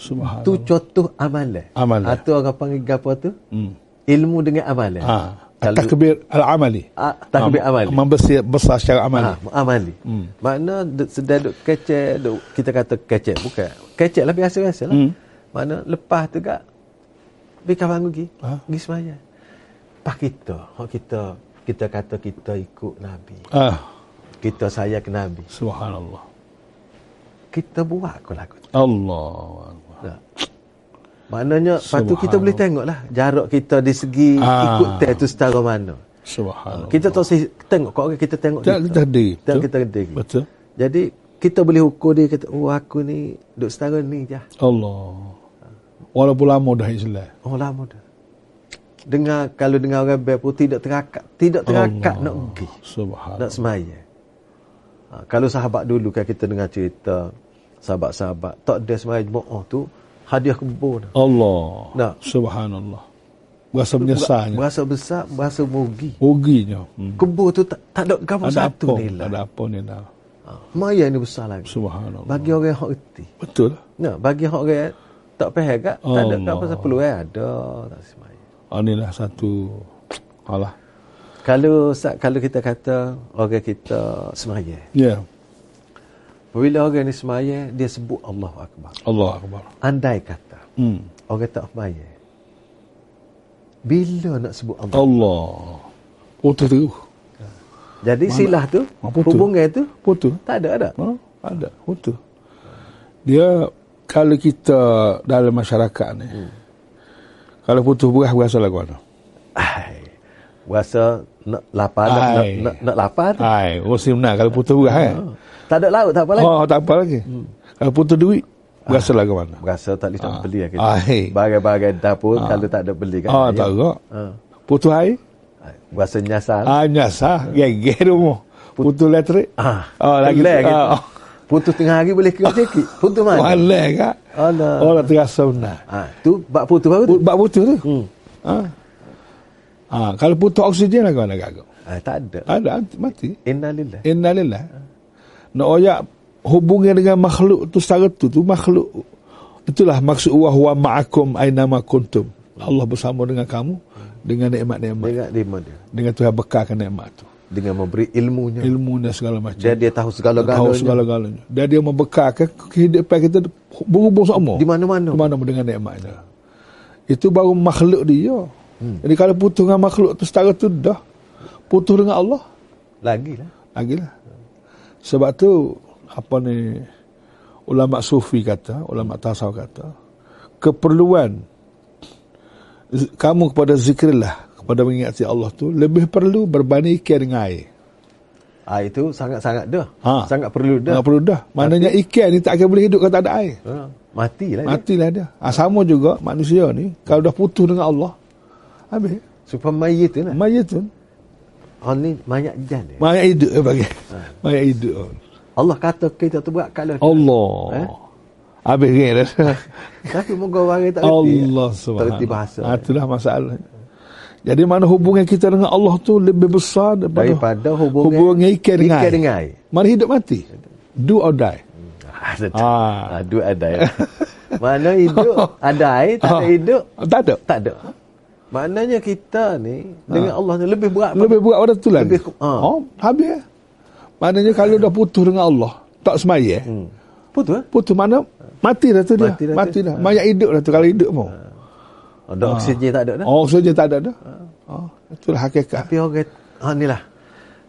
Speaker 4: Subhanallah.
Speaker 3: Tu contoh amalan.
Speaker 4: Amalan.
Speaker 3: Atau orang panggil apa tu?
Speaker 4: Hmm.
Speaker 3: Ilmu dengan amalan.
Speaker 4: Ha.
Speaker 3: Kalau-
Speaker 4: Takbir al-amali.
Speaker 3: Ah, takbir
Speaker 4: Ha,
Speaker 3: amali.
Speaker 4: Membesar besar secara amali.
Speaker 3: Ha, amali. Hmm. Makna duk- sedar duk kecek, duk, kita kata kecek bukan. Kecek lah biasa-biasa lah. Hmm. Makna lepas tu kak, bikah bangun pergi. Ha? Pergi semayang. Lepas kita, hak kita, kita kata kita ikut Nabi.
Speaker 4: Ah,
Speaker 3: Kita sayang ke Nabi.
Speaker 4: subhanallah.
Speaker 3: Kita buat lah ke lagu tu.
Speaker 4: Allahu akbar.
Speaker 3: Tak? Ha. Maknanya, lepas tu kita boleh tengok lah. Jarak kita di segi
Speaker 4: Ah.
Speaker 3: ikut teh tu setara mana.
Speaker 4: Subhanallah.
Speaker 3: Kita tak usah tengok. Kau orang kita tengok
Speaker 4: Tak, kita diri.
Speaker 3: Tak
Speaker 4: Betul.
Speaker 3: kita diri.
Speaker 4: Betul.
Speaker 3: Jadi kita boleh ukur dia kata, oh aku ni duduk setara ni je. ah."
Speaker 4: Allah. Walaupun lama dah Islam.
Speaker 3: Oh lama dah. Dengar kalau dengar orang bel pun tidak terakak, tidak terakak nak pergi, nak
Speaker 4: Subhanallah.
Speaker 3: semaya. Ha, kalau sahabat dulu kan kita dengar cerita sahabat-sahabat tak ada semaya jemaah tu hadiah kubur dah.
Speaker 4: Allah.
Speaker 3: Nak.
Speaker 4: Subhanallah. Berasa menyesalnya.
Speaker 3: Berasa besar, berasa mugi.
Speaker 4: Ruginya. Hmm.
Speaker 3: Kubur tu tak, tak ada gambar
Speaker 4: Ada apa?
Speaker 3: satu ni lah.
Speaker 4: Ada apa ni lah.
Speaker 3: Ha, semaya ni besar lagi.
Speaker 4: Subhanallah.
Speaker 3: Bagi orang yang hak erti.
Speaker 4: Betul lah.
Speaker 3: Nah, bagi hak orang tak faham kat, tak ada kat
Speaker 4: Allah.
Speaker 3: pasal perlu eh ada tak semaya.
Speaker 4: Ah, inilah satu. Alah.
Speaker 3: Kalau Ustaz, kalau kita kata orang kita semaya.
Speaker 4: Ya.
Speaker 3: Bila orang ni semaya, dia sebut Allahu Akbar.
Speaker 4: Allah Akbar.
Speaker 3: Andai kata
Speaker 4: Hmm.
Speaker 3: orang tak semaya. Bila nak sebut Allah?
Speaker 4: Oh, Allah. Putus terus.
Speaker 3: Jadi silah tu,
Speaker 4: Ah, betul.
Speaker 3: hubungan tu
Speaker 4: Putus.
Speaker 3: tak ada ada.
Speaker 4: Ha? Ada, betul. Dia kalau kita dalam masyarakat ni. Hmm. Kalau putus beras berasa lagu mana?
Speaker 3: Ai. Rasa nak lapar, nak, nak,
Speaker 4: Ai.
Speaker 3: nak, nak lapar tu.
Speaker 4: Hai, Rosim nak kalau putus beras kan.
Speaker 3: Tak ada laut tak apa lagi.
Speaker 4: Oh, tak apa lagi. Hmm. Kalau putus duit berasa lagu mana?
Speaker 3: Rasa tak boleh nak
Speaker 4: Ah.
Speaker 3: beli lah kita.
Speaker 4: Ai.
Speaker 3: Barang-barang dapur kalau tak ada beli kan.
Speaker 4: Ah,
Speaker 3: Ya.
Speaker 4: tak gerak.
Speaker 3: Ah.
Speaker 4: Putus air,
Speaker 3: Rasa nyasar.
Speaker 4: ah nyasah, geger rumah. Putus elektrik.
Speaker 3: Ah,
Speaker 4: Oh, lagi
Speaker 3: kelak
Speaker 4: tu.
Speaker 3: kita.
Speaker 4: Ah,
Speaker 3: Putus tengah hari boleh kira sikit. Putus
Speaker 4: oh.
Speaker 3: mana?
Speaker 4: Walai kak.
Speaker 3: Alah.
Speaker 4: Oh, dah terasa benar.
Speaker 3: Ha, tu bak putus baru tu.
Speaker 4: Put- Bak putus tu. Hmm. Ha. ha. kalau putus oksigen lagu mana kak?
Speaker 3: Ha, tak ada.
Speaker 4: Ada mati.
Speaker 3: Innalillah.
Speaker 4: Innalillah. Nak oyak hubungan dengan makhluk tu secara tu tu makhluk. Itulah maksud wa huwa ma'akum aina ma kuntum. Allah bersama dengan kamu dengan
Speaker 3: Dengan
Speaker 4: nikmat-nikmat.
Speaker 3: lima dia.
Speaker 4: Dengan Tuhan bekalkan nikmat tu.
Speaker 3: Dengan memberi ilmunya. Ilmu.
Speaker 4: Ilmu dan segala macam.
Speaker 3: Dia dia tahu
Speaker 4: tahu
Speaker 3: segala-galanya.
Speaker 4: segala-galanya. Dan dia membekalkan kehidupan kita berhubung semua.
Speaker 3: Di mana-mana.
Speaker 4: Ke mana dengan nikmatnya. Itu baru makhluk dia. Hmm. Jadi kalau putus dengan makhluk tu setara tu dah. Putus dengan Allah.
Speaker 3: Lagi lah.
Speaker 4: Lagilah. Sebab tu apa ni ulama sufi kata, ulama tasawuf kata, keperluan z- kamu kepada zikrillah, kepada mengingati Allah tu lebih perlu berbanding ikan dengan air.
Speaker 3: Ha, itu sangat-sangat dah.
Speaker 4: Ha.
Speaker 3: Sangat perlu dah.
Speaker 4: Dah. perlu dah. Maknanya ikan ni tak akan boleh hidup kalau tak ada air.
Speaker 3: Ha. Matilah dia.
Speaker 4: Matilah dia. Ha, sama juga manusia ni kalau dah putus dengan Allah habis.
Speaker 3: Supaya mayit tu lah.
Speaker 4: Mayatun.
Speaker 3: Orang ni mayat jan dia.
Speaker 4: Mayat hidup dia bagi. Mayat hidup.
Speaker 3: Allah kata kita tu buat kalau
Speaker 4: Allah.
Speaker 3: Eh?
Speaker 4: Habis ringan rasa.
Speaker 3: Tapi moga orang tak reti.
Speaker 4: Allah
Speaker 3: Tak
Speaker 4: subhanahu.
Speaker 3: reti bahasa.
Speaker 4: Ha, itulah masalah. Jadi mana hubungan kita dengan Allah tu lebih besar daripada,
Speaker 3: Daripada hubungan-
Speaker 4: hubungan ikan dengan.
Speaker 3: ikan dengan air.
Speaker 4: Mana hidup mati. Do or die.
Speaker 3: Ada
Speaker 4: Ah.
Speaker 3: Ada ada. ya. Mana hidup ada air, tak ada
Speaker 4: Ah.
Speaker 3: hidup
Speaker 4: Tak ada.
Speaker 3: tak ada. Maknanya kita ni dengan Allah ni lebih berat
Speaker 4: Ah. Lebih berat pada tu lah.
Speaker 3: Lebih ku- ha.
Speaker 4: Oh, habis. Maknanya kalau dah putus dengan Allah, tak semaya. Hmm.
Speaker 3: putus eh?
Speaker 4: Putus mana? Mati dah tu dia.
Speaker 3: Mati dah tu. Ah.
Speaker 4: Mati dah. Mayat hidup dah tu kalau hidup mau.
Speaker 3: Ada Oh, oksigen tak ada dah.
Speaker 4: Ah. Oh, saja tak ada dah. Oh, itulah hakikat.
Speaker 3: Tapi orang ha inilah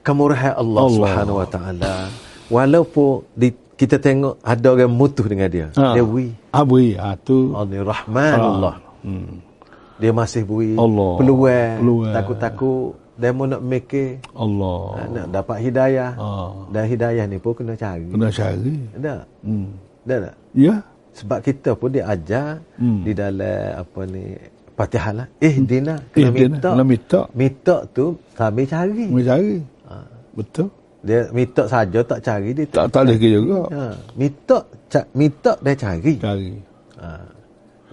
Speaker 3: kemurahan Allah,
Speaker 4: Allah.
Speaker 3: Subhanahu Wa Taala. Walaupun di, kita tengok ada orang mutuh dengan dia.
Speaker 4: Ha.
Speaker 3: Dia bui.
Speaker 4: Abui ha, tu.
Speaker 3: Allah
Speaker 4: Hmm.
Speaker 3: ni Rahman Allah. Dia masih bui
Speaker 4: Ah. Allah.
Speaker 3: peluang,
Speaker 4: Peluang.
Speaker 3: takut-takut dia mau nak mikir
Speaker 4: Allah.
Speaker 3: ha, nak dapat hidayah.
Speaker 4: Ha.
Speaker 3: Dan hidayah ni pun kena cari.
Speaker 4: Kena cari.
Speaker 3: Ada.
Speaker 4: Hmm.
Speaker 3: Ada tak?
Speaker 4: Ya.
Speaker 3: Sebab kita pun diajar
Speaker 4: Hmm.
Speaker 3: di dalam apa ni Fatihah lah. Ihdina kena
Speaker 4: Ihdina,
Speaker 3: minta.
Speaker 4: Eh, kena minta.
Speaker 3: Minta tu kami cari.
Speaker 4: Kena cari. Betul.
Speaker 3: Dia minta saja tak cari dia
Speaker 4: Tak tak lagi juga.
Speaker 3: Ha, minta ca, minta dia cari.
Speaker 4: Cari.
Speaker 3: Ha.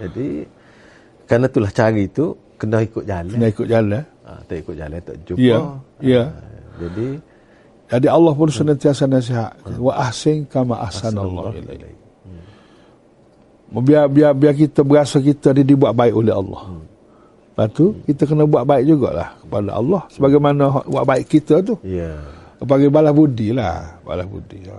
Speaker 3: Jadi kerana itulah cari tu kena ikut jalan.
Speaker 4: Kena ikut jalan. eh?
Speaker 3: Ha, tak ikut jalan tak jumpa.
Speaker 4: Ya. Ya.
Speaker 3: Ha, jadi
Speaker 4: Jadi Allah pun senantiasa nasihat. Wa ahsin kama ahsanallahu ilaik. Hmm. biar biar biar kita berasa kita ni dibuat baik oleh Allah. Lepas tu kita kena buat baik jugalah kepada Allah sebagaimana hak- buat baik kita tu.
Speaker 3: Ya.
Speaker 4: Panggil balas budi lah, balas budi. Ha.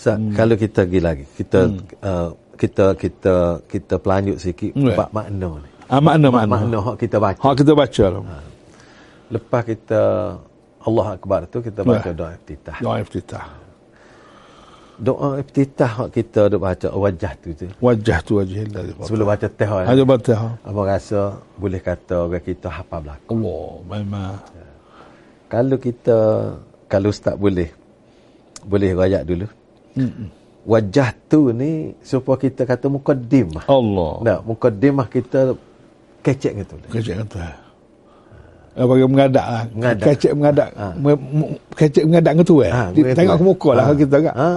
Speaker 3: So, hmm. kalau kita pergi lagi, kita hmm. uh, kita kita kita pelanjut sikit
Speaker 4: Ya.
Speaker 3: bab makna ni.
Speaker 4: Ah, makna makna.
Speaker 3: Makna hak kita baca.
Speaker 4: Hak kita baca lah.
Speaker 3: Lepas kita Allah Akbar tu kita baca
Speaker 4: Ya.
Speaker 3: doa iftitah.
Speaker 4: Doa iftitah.
Speaker 3: Doa iftitah hak kita duk baca wajah tu tu.
Speaker 4: Wajah tu wajah Allah.
Speaker 3: Sebelum baca teh. kan?
Speaker 4: Ada baca. ha.
Speaker 3: Abang rasa boleh kata orang kita hafal belaka.
Speaker 4: Allah memang.
Speaker 3: Kalau kita kalau ustaz boleh boleh rakyat dulu.
Speaker 4: Mm-mm.
Speaker 3: Wajah tu ni supaya kita kata mukaddimah.
Speaker 4: Allah.
Speaker 3: Nah, mukaddimah kita kecek gitu.
Speaker 4: Kecek kata. Eh, bagi mengadak lah.
Speaker 3: Mengadak.
Speaker 4: Kecek mengadak.
Speaker 3: Ha.
Speaker 4: Me- mu- Kecek mengadak ke tu eh.
Speaker 3: Ha,
Speaker 4: Dia
Speaker 3: mengadak.
Speaker 4: tengok ke muka lah
Speaker 3: Ha.
Speaker 4: kalau kita agak.
Speaker 3: Ha.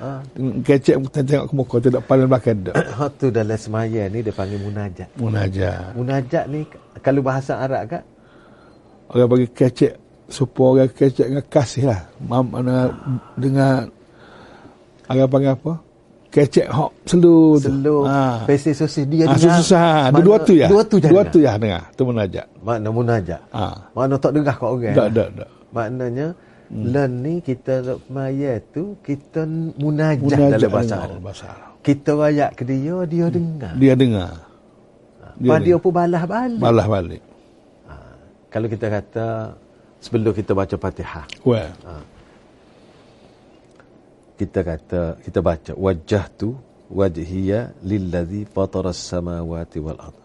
Speaker 4: Ha. Kecek kita tengok ke muka. Tidak pandang belakang dah.
Speaker 3: Hak tu dalam semaya ni dia panggil munajat.
Speaker 4: Munajat.
Speaker 3: Munajat ni kalau bahasa Arab kan
Speaker 4: Orang bagi kecek. Supaya orang kecek dengan kasih lah. Mam, dengan, dengan orang panggil apa? Kecek hok selu tu.
Speaker 3: selo ha.
Speaker 4: Ha.
Speaker 3: pesi sosis dia
Speaker 4: Ha,
Speaker 3: dengar.
Speaker 4: susah. Dia
Speaker 3: Mana-
Speaker 4: dua tu ya.
Speaker 3: Dua tu je.
Speaker 4: Dua tu ya dengar. Tu munajat.
Speaker 3: Makna munajat.
Speaker 4: Ha.
Speaker 3: Makna tak dengar kat orang.
Speaker 4: Tak, tak, tak.
Speaker 3: Maknanya hmm. learn ni kita dok maya tu kita n- munajat, munajat
Speaker 4: Munajat
Speaker 3: dalam bahasa
Speaker 4: dengan
Speaker 3: Arab.
Speaker 4: Allah, bahasa Arab.
Speaker 3: Kita wayak ke dia dia dengar.
Speaker 4: Dia dengar.
Speaker 3: Dia, dia pun balas balik.
Speaker 4: Malah balik.
Speaker 3: Ha. Kalau kita kata sebelum kita baca Fatihah
Speaker 4: Well.
Speaker 3: kita kata kita baca wajah tu wajhiya lillazi fatara samawati wal ard.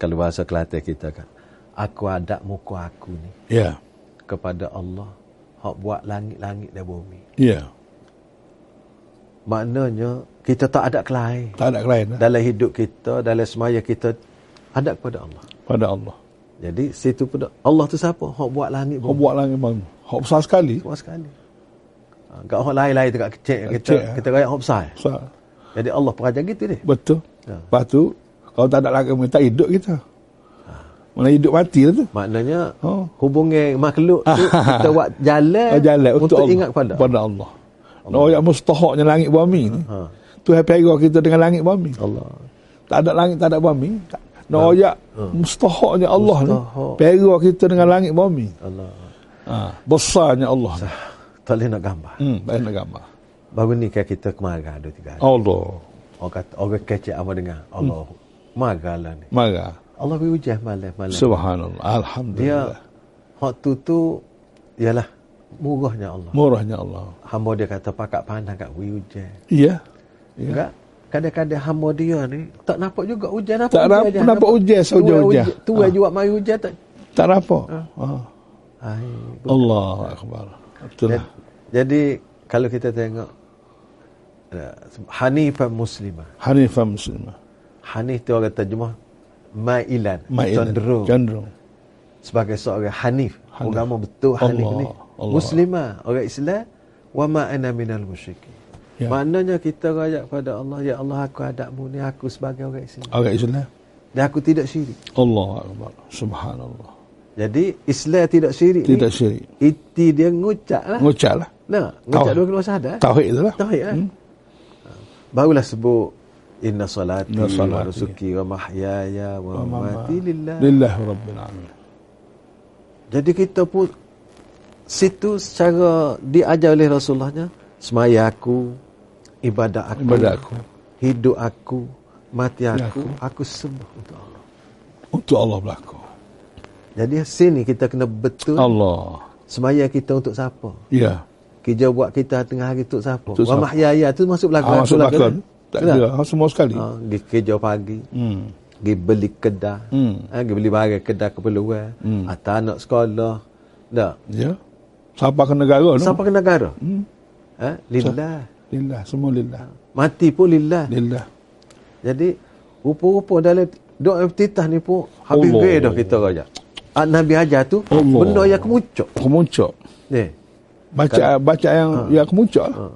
Speaker 3: Kalau bahasa Kelantan kita kan aku ada muka aku ni
Speaker 4: Ya.
Speaker 3: kepada Allah hak buat langit-langit dan bumi.
Speaker 4: Ya.
Speaker 3: Maknanya kita tak ada kelain.
Speaker 4: Tak ada lain lah.
Speaker 3: Dalam hidup kita, dalam semaya kita ada kepada Allah.
Speaker 4: Pada Allah.
Speaker 3: Jadi situ pun Allah tu siapa? Hak buat langit
Speaker 4: Kau
Speaker 3: bumi.
Speaker 4: buat langit bangun. Hak besar sekali.
Speaker 3: Kuat sekali. Ha, kat orang lain-lain tu kat kecil kita
Speaker 4: Kecil, eh?
Speaker 3: kita rakyat hak besar.
Speaker 4: Besar.
Speaker 3: Jadi Allah peraja gitu dia.
Speaker 4: Betul.
Speaker 3: Ya.
Speaker 4: Lepas tu, kalau tak ada langit bangun, tak hidup kita. Mana hidup mati lah tu.
Speaker 3: Maknanya
Speaker 4: Oh.
Speaker 3: hubungan makhluk tu kita buat jalan,
Speaker 4: Oh, jalan untuk, Allah.
Speaker 3: ingat kepada.
Speaker 4: Kepada Allah. Allah. yang mustahaknya langit bumi ni.
Speaker 3: Ha.
Speaker 4: Tu happy era kita dengan langit bumi.
Speaker 3: Allah. Ha.
Speaker 4: Tak ada langit, tak ada bumi. Tak. Nah, ya, mustahaknya Allah ni.
Speaker 3: Mustahak.
Speaker 4: Pera kita dengan langit bumi.
Speaker 3: Allah.
Speaker 4: Ha. Besarnya Allah. ni.
Speaker 3: Tak boleh nak gambar.
Speaker 4: Hmm, baik nak gambar.
Speaker 3: Baru ni kan kita kemarah dua tiga hari.
Speaker 4: Allah.
Speaker 3: Orang kata orang kecil apa dengar. Allah.
Speaker 4: Hmm.
Speaker 3: Marahlah ni.
Speaker 4: Marah.
Speaker 3: Allah beri hujah malam-malam.
Speaker 4: Subhanallah.
Speaker 3: dia
Speaker 4: Alhamdulillah.
Speaker 3: Ya. hak tu tu ialah murahnya Allah.
Speaker 4: Murahnya Allah.
Speaker 3: Hamba dia kata pakak pandang kat bui hujan.
Speaker 4: Ya.
Speaker 3: Ya. Kadang-kadang hamba dia ni tak nampak juga hujan nampak
Speaker 4: Tak nampak-
Speaker 3: je,
Speaker 4: nampak hujan, saja
Speaker 3: Tuai
Speaker 4: hujan.
Speaker 3: Tuai
Speaker 4: Ah.
Speaker 3: juga mari hujan tak.
Speaker 4: Tak nampak. Ha.
Speaker 3: Ai.
Speaker 4: Oh, Allah Akbar.
Speaker 3: Jadi,
Speaker 4: Betul lah.
Speaker 3: jadi kalau kita tengok uh, hanifan muslimah.
Speaker 4: Hanifah muslimah.
Speaker 3: Hanif tu orang terjemah mailan,
Speaker 4: Ma'ilan.
Speaker 3: cenderung
Speaker 4: Cenderung.
Speaker 3: sebagai seorang hanif.
Speaker 4: Hanif.
Speaker 3: Agama betul hanif
Speaker 4: Allah,
Speaker 3: ni.
Speaker 4: Allah.
Speaker 3: Muslimah, orang Islam wa ma ana minal musyrikin.
Speaker 4: Ya.
Speaker 3: Maknanya kita rajak pada Allah, ya Allah aku hadapmu ni aku sebagai orang Islam.
Speaker 4: Orang Islam.
Speaker 3: Dan aku tidak syirik.
Speaker 4: Allah Akbar. Subhanallah.
Speaker 3: Jadi Islam tidak syirik
Speaker 4: Tidak
Speaker 3: ni.
Speaker 4: syirik.
Speaker 3: Iti dia ngucak lah.
Speaker 4: Ngucap lah.
Speaker 3: Nah, ngucak
Speaker 4: Tauhid.
Speaker 3: dua keluar syahadat.
Speaker 4: Tauhid tu lah.
Speaker 3: Tauhid kan? Hmm. Barulah sebut Inna salati,
Speaker 4: Inna salati.
Speaker 3: wa nusuki wa mahyaya wa mamati lillah.
Speaker 4: Lillah Rabbil Alamin.
Speaker 3: Jadi kita pun situ secara diajar oleh Rasulullahnya semaya aku, ibadat aku,
Speaker 4: Ibadat aku.
Speaker 3: hidup aku, mati aku, aku, sembah untuk Allah.
Speaker 4: Untuk Allah berlaku.
Speaker 3: Jadi sini kita kena betul
Speaker 4: Allah.
Speaker 3: semaya kita untuk siapa?
Speaker 4: Ya.
Speaker 3: Kerja buat kita tengah hari untuk siapa?
Speaker 4: Untuk
Speaker 3: Wa
Speaker 4: siapa?
Speaker 3: mahyaya tu masuk belakang.
Speaker 4: Ah,
Speaker 3: aku
Speaker 4: masuk
Speaker 3: lah,
Speaker 4: belakang.
Speaker 3: kan?
Speaker 4: Tak
Speaker 3: Kan?
Speaker 4: ada. Ah, Semua sekali.
Speaker 3: Ha, pergi kerja pagi.
Speaker 4: Hmm.
Speaker 3: Pergi beli kedah.
Speaker 4: Hmm.
Speaker 3: Ha, pergi beli barang kedah keperluan. Hmm. Atau anak sekolah. Tak.
Speaker 4: Ya. Siapa ke negara tu?
Speaker 3: Siapa ke negara? Hmm. Ha? Lillah.
Speaker 4: Lillah. Semua lillah.
Speaker 3: Mati pun lillah.
Speaker 4: Lillah.
Speaker 3: Jadi, rupa-rupa dalam doa iftitah ni pun habis
Speaker 4: Allah.
Speaker 3: gaya dah kita raja. Ah, Nabi ajar tu,
Speaker 4: Allah.
Speaker 3: benda yang kemucuk.
Speaker 4: Kemuncak.
Speaker 3: Ni. Kan?
Speaker 4: Baca baca yang
Speaker 3: Ah.
Speaker 4: yang kemuncak lah.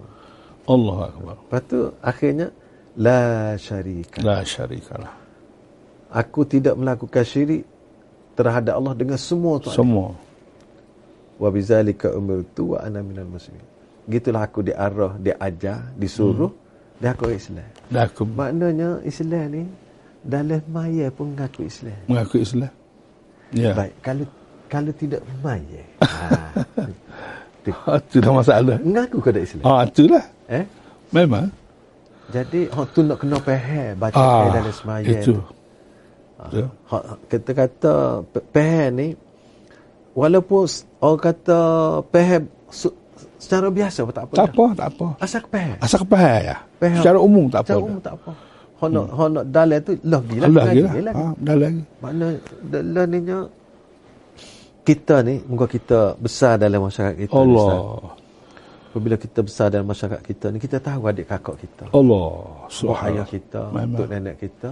Speaker 4: Allah Akbar.
Speaker 3: Lepas tu, akhirnya, La syarika.
Speaker 4: La lah. syarikalah.
Speaker 3: Aku tidak melakukan syirik terhadap Allah dengan semua tu.
Speaker 4: Semua.
Speaker 3: wa bizalika umirtu wa ana minal muslimin gitulah aku diarah diajar disuruh hmm. dah aku orang Islam
Speaker 4: Dah aku
Speaker 3: maknanya Islam ni dalam maya pun mengaku Islam
Speaker 4: mengaku Islam. Ya.
Speaker 3: baik kalau kalau tidak maya ha,
Speaker 4: Ha, tu dah masalah.
Speaker 3: mengaku ke tak Islam
Speaker 4: Ah, itulah.
Speaker 3: eh
Speaker 4: Memang.
Speaker 3: jadi hak tu nak kena faham baca ah,
Speaker 4: Ah,
Speaker 3: dalam semaya
Speaker 4: itu.
Speaker 3: tu Ah.
Speaker 4: Ya.
Speaker 3: hak kita kata pe- faham ni walaupun s- orang kata faham su- secara biasa pun tak apa lah.
Speaker 4: Tak apa, tak apa.
Speaker 3: asal faham
Speaker 4: Asal kepahal ya.
Speaker 3: Faham.
Speaker 4: Secara umum tak apa.
Speaker 3: Secara umum tak apa. Honok hmm. honok dalil tu lagi lah.
Speaker 4: Allah gila.
Speaker 3: lagi lah.
Speaker 4: Ha, dah lagi.
Speaker 3: Makna dalil ni nya, kita ni muka kita besar dalam masyarakat kita. ni,
Speaker 4: Allah.
Speaker 3: Ustaz. Apabila kita besar dalam masyarakat kita ni kita tahu adik kakak kita,
Speaker 4: Allah.
Speaker 3: tok ayah
Speaker 4: Subhanallah.
Speaker 3: kita,
Speaker 4: Memang.
Speaker 3: tok nenek kita.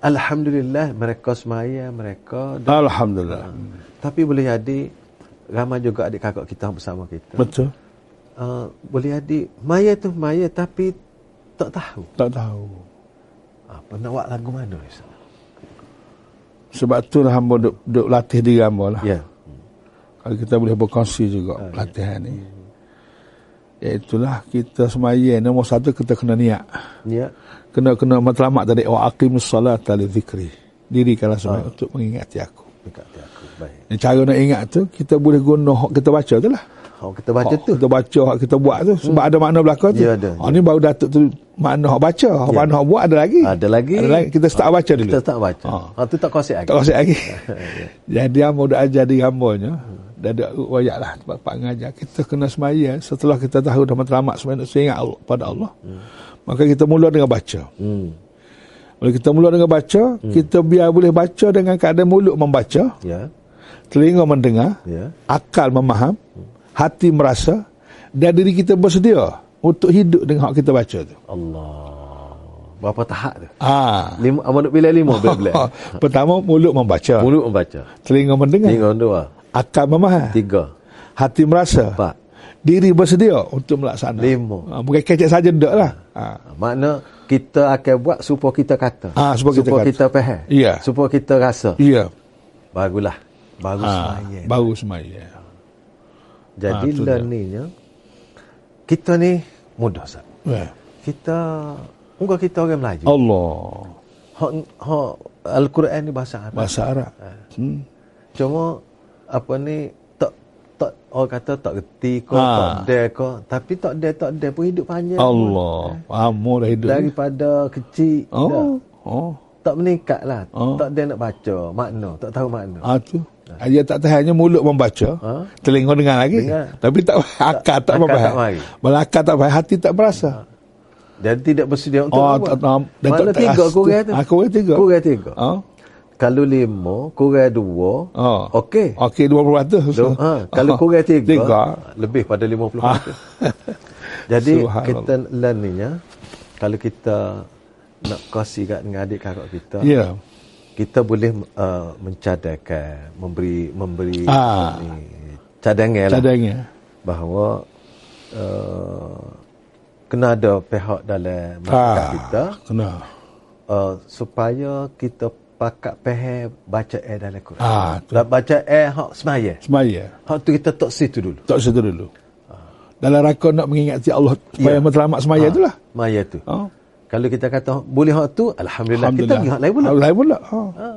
Speaker 3: Alhamdulillah mereka semaya mereka dah.
Speaker 4: Alhamdulillah.
Speaker 3: Tapi boleh jadi ramai juga adik kakak kita bersama kita.
Speaker 4: Betul.
Speaker 3: Uh, boleh jadi maya tu maya tapi tak tahu
Speaker 4: Tak tahu.
Speaker 3: apa nak buat lagu mana Ustaz.
Speaker 4: Sebab tu lah hamba duk, duk latih diri hamba lah.
Speaker 3: Ya. Ah,
Speaker 4: Kalau kita boleh berkongsi juga latihan ni. Iaitulah kita semaya nombor satu kita kena niat.
Speaker 3: Ya.
Speaker 4: Kena kena matlamat tadi wa aqimus salata li dzikri. Dirikanlah semaya
Speaker 3: Ah.
Speaker 4: untuk mengingati aku.
Speaker 3: Dekat hati aku. Baik.
Speaker 4: Dan Cara nak ingat tu kita boleh guna hak kita baca tu lah.
Speaker 3: Kalau kita baca
Speaker 4: Hak
Speaker 3: tu. Hmm.
Speaker 4: Kita baca hak kita buat tu sebab ada makna belakang tu.
Speaker 3: Ya, ada.
Speaker 4: Ha, ni baru datuk tu makna hak baca, hak
Speaker 3: Ya.
Speaker 4: makna hak buat ada lagi.
Speaker 3: Ada lagi.
Speaker 4: eh,
Speaker 3: Ah,
Speaker 4: Ada lagi. Kita start baca dulu.
Speaker 3: Kita tak baca.
Speaker 4: Ha.
Speaker 3: Ha. tu tak kosik lagi.
Speaker 4: Tak kosik lagi.
Speaker 3: Ya.
Speaker 4: Jadi hamba dah ajar di hambanya. Dah ada wayak lah tempat pak ngajar. Kita kena semaya setelah kita tahu dah matlamat semaya nak ingat Allah, pada Allah. Maka kita mula dengan baca.
Speaker 3: Hmm.
Speaker 4: Bila kita mula dengan baca, kita biar boleh baca dengan keadaan mulut membaca,
Speaker 3: Ya.
Speaker 4: telinga mendengar,
Speaker 3: Ya.
Speaker 4: akal memaham, hati merasa dan diri kita bersedia untuk hidup dengan hak kita baca tu.
Speaker 3: Allah. Berapa tahap tu?
Speaker 4: Ah.
Speaker 3: Lima, amanut bila lima bila.
Speaker 4: Pertama mulut membaca,
Speaker 3: Mulut membaca.
Speaker 4: telinga mendengar,
Speaker 3: Tiga dua.
Speaker 4: akal
Speaker 3: ah.
Speaker 4: memaham,
Speaker 3: Tiga.
Speaker 4: hati merasa,
Speaker 3: Empat.
Speaker 4: diri bersedia untuk melaksanakan.
Speaker 3: Lima.
Speaker 4: Ha, bukan kecek saja dak lah. Ha.
Speaker 3: Ha, Makna kita akan buat supaya kita kata.
Speaker 4: Ah, supaya kita kata.
Speaker 3: kita faham.
Speaker 4: Ya.
Speaker 3: Supaya kita rasa.
Speaker 4: Ya.
Speaker 3: Bagulah. Bagus
Speaker 4: Ha.
Speaker 3: semayang.
Speaker 4: Baru semaya.
Speaker 3: Jadi
Speaker 4: Ah, tu dia.
Speaker 3: learningnya kita ni mudah sah.
Speaker 4: Ya.
Speaker 3: Kita Enggak kita orang Melayu.
Speaker 4: Allah.
Speaker 3: Hak, hak Al-Quran ni bahasa Arab.
Speaker 4: Bahasa Arab.
Speaker 3: Ha.
Speaker 4: Hmm.
Speaker 3: Cuma apa ni tak tak orang kata tak reti kau,
Speaker 4: Ha.
Speaker 3: tak ada kau. Tapi tak ada tak ada pun hidup panjang.
Speaker 4: Allah. Faham dah hidup. ni.
Speaker 3: Daripada kecil dah,
Speaker 4: Oh. Oh.
Speaker 3: tak meningkat lah.
Speaker 4: Oh.
Speaker 3: Tak ada nak baca makna, tak tahu makna.
Speaker 4: Ha tu. Dia tak tahu hanya mulut membaca,
Speaker 3: Ha?
Speaker 4: telinga dengar lagi.
Speaker 3: Dengar.
Speaker 4: Tapi tak akal tak
Speaker 3: akal tak Ha,
Speaker 4: faham.
Speaker 3: mari.
Speaker 4: Malah akal tak faham, hati tak berasa.
Speaker 3: Dan tidak bersedia untuk
Speaker 4: Oh,
Speaker 3: nak
Speaker 4: tak
Speaker 3: buat.
Speaker 4: faham. Dan
Speaker 3: Makna
Speaker 4: tak- tak
Speaker 3: tiga
Speaker 4: rasa.
Speaker 3: kurang tu.
Speaker 4: Ah, kurang tiga.
Speaker 3: Kurang tiga.
Speaker 4: Ha?
Speaker 3: Kalau lima, kurang dua,
Speaker 4: Oh.
Speaker 3: okey.
Speaker 4: Okey 20%.
Speaker 3: So, ha, kalau kurang tiga,
Speaker 4: Ah, Oh.
Speaker 3: Ha.
Speaker 4: Tiga.
Speaker 3: lebih pada lima puluh. Jadi
Speaker 4: Subhanallah.
Speaker 3: kita learningnya ya, kalau kita nak kongsi kat dengan adik kakak kita,
Speaker 4: Ya.
Speaker 3: kita boleh uh, mencadangkan, memberi memberi
Speaker 4: Ah.
Speaker 3: apa ni, cadangan lah
Speaker 4: Cadangnya.
Speaker 3: bahawa uh, kena ada pihak dalam masyarakat
Speaker 4: Ah,
Speaker 3: kita
Speaker 4: Kena.
Speaker 3: uh, supaya kita pakat pihak bacaan dalam Quran.
Speaker 4: Ah, tu.
Speaker 3: Lah bacaan hak semaya.
Speaker 4: Semaya.
Speaker 3: Hak tu kita tak situ dulu.
Speaker 4: Tak situ dulu. Dalam rakun nak mengingati Allah
Speaker 3: Ha.
Speaker 4: supaya
Speaker 3: Ya.
Speaker 4: matlamat semaya
Speaker 3: Ah,
Speaker 4: itulah.
Speaker 3: Maya tu.
Speaker 4: Ha.
Speaker 3: Kalau kita kata boleh hak tu, alhamdulillah, kita pergi hak lain pula. Ah.
Speaker 4: Hak lain pula. Ha.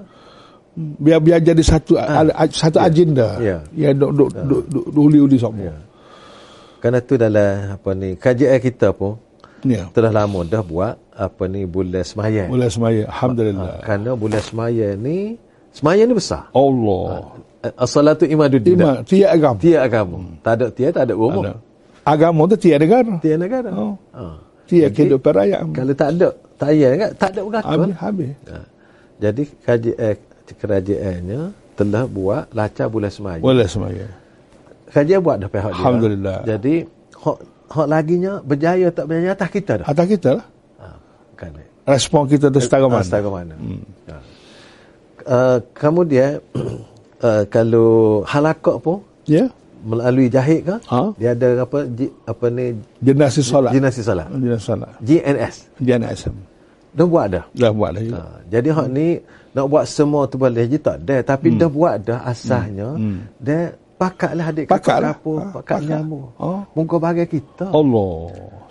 Speaker 4: Biar biar jadi satu al- aj- satu agenda.
Speaker 3: Ya.
Speaker 4: Ya duk duk duk duk duk uli-uli semua.
Speaker 3: Kerana tu dalam apa ni kajian kita pun
Speaker 4: Ya.
Speaker 3: telah lama dah buat apa ni bulan semaya. Ha,
Speaker 4: Mulai semaya. Alhamdulillah.
Speaker 3: Kerana bulan semaya ni semaya ni besar.
Speaker 4: Allah.
Speaker 3: As-salatu imaduddin.
Speaker 4: Iman tiada agama.
Speaker 3: Ah. Tiada agama. Tak ada tiada, tak ada umum.
Speaker 4: Ada. Agama tu tiada negara.
Speaker 3: Tiada negara.
Speaker 4: Oh.
Speaker 3: Ha. Jadi,
Speaker 4: Tiada kehidupan rakyat.
Speaker 3: Kalau tak ada, tak ada kan? Tak ada urakan.
Speaker 4: Habis habis.
Speaker 3: Ha. Jadi kajian kerajaannya telah buat laca bulan semaya.
Speaker 4: Mulai semaya.
Speaker 3: Kajian buat dah pihak dia.
Speaker 4: Alhamdulillah.
Speaker 3: Jadi hak hak laginya berjaya tak berjaya atas kita dah.
Speaker 4: Atas kita lah.
Speaker 3: Ha. Kan.
Speaker 4: Respon kita tu setara
Speaker 3: Ah,
Speaker 4: mana.
Speaker 3: Setara mana? Hmm. Ha. Uh, kemudian uh, kalau halakak pun
Speaker 4: Ya.
Speaker 3: melalui jahit ke?
Speaker 4: Ha? Lah.
Speaker 3: Dia ada apa J, apa ni
Speaker 4: Jenazah solat.
Speaker 3: jenazah salah.
Speaker 4: Jenazah solat.
Speaker 3: GNS.
Speaker 4: Jenazah Islam.
Speaker 3: Dah buat dah.
Speaker 4: Dah buat dah juga.
Speaker 3: Ha, jadi hak ni nak buat semua tu boleh je tak ada tapi
Speaker 4: Hmm.
Speaker 3: dah buat dah asasnya hmm. dia pakatlah adik
Speaker 4: Pakat lah.
Speaker 3: kapur,
Speaker 4: Ha,
Speaker 3: pakat
Speaker 4: pakat.
Speaker 3: nyamuk.
Speaker 4: Oh.
Speaker 3: Muka bagai kita.
Speaker 4: Allah.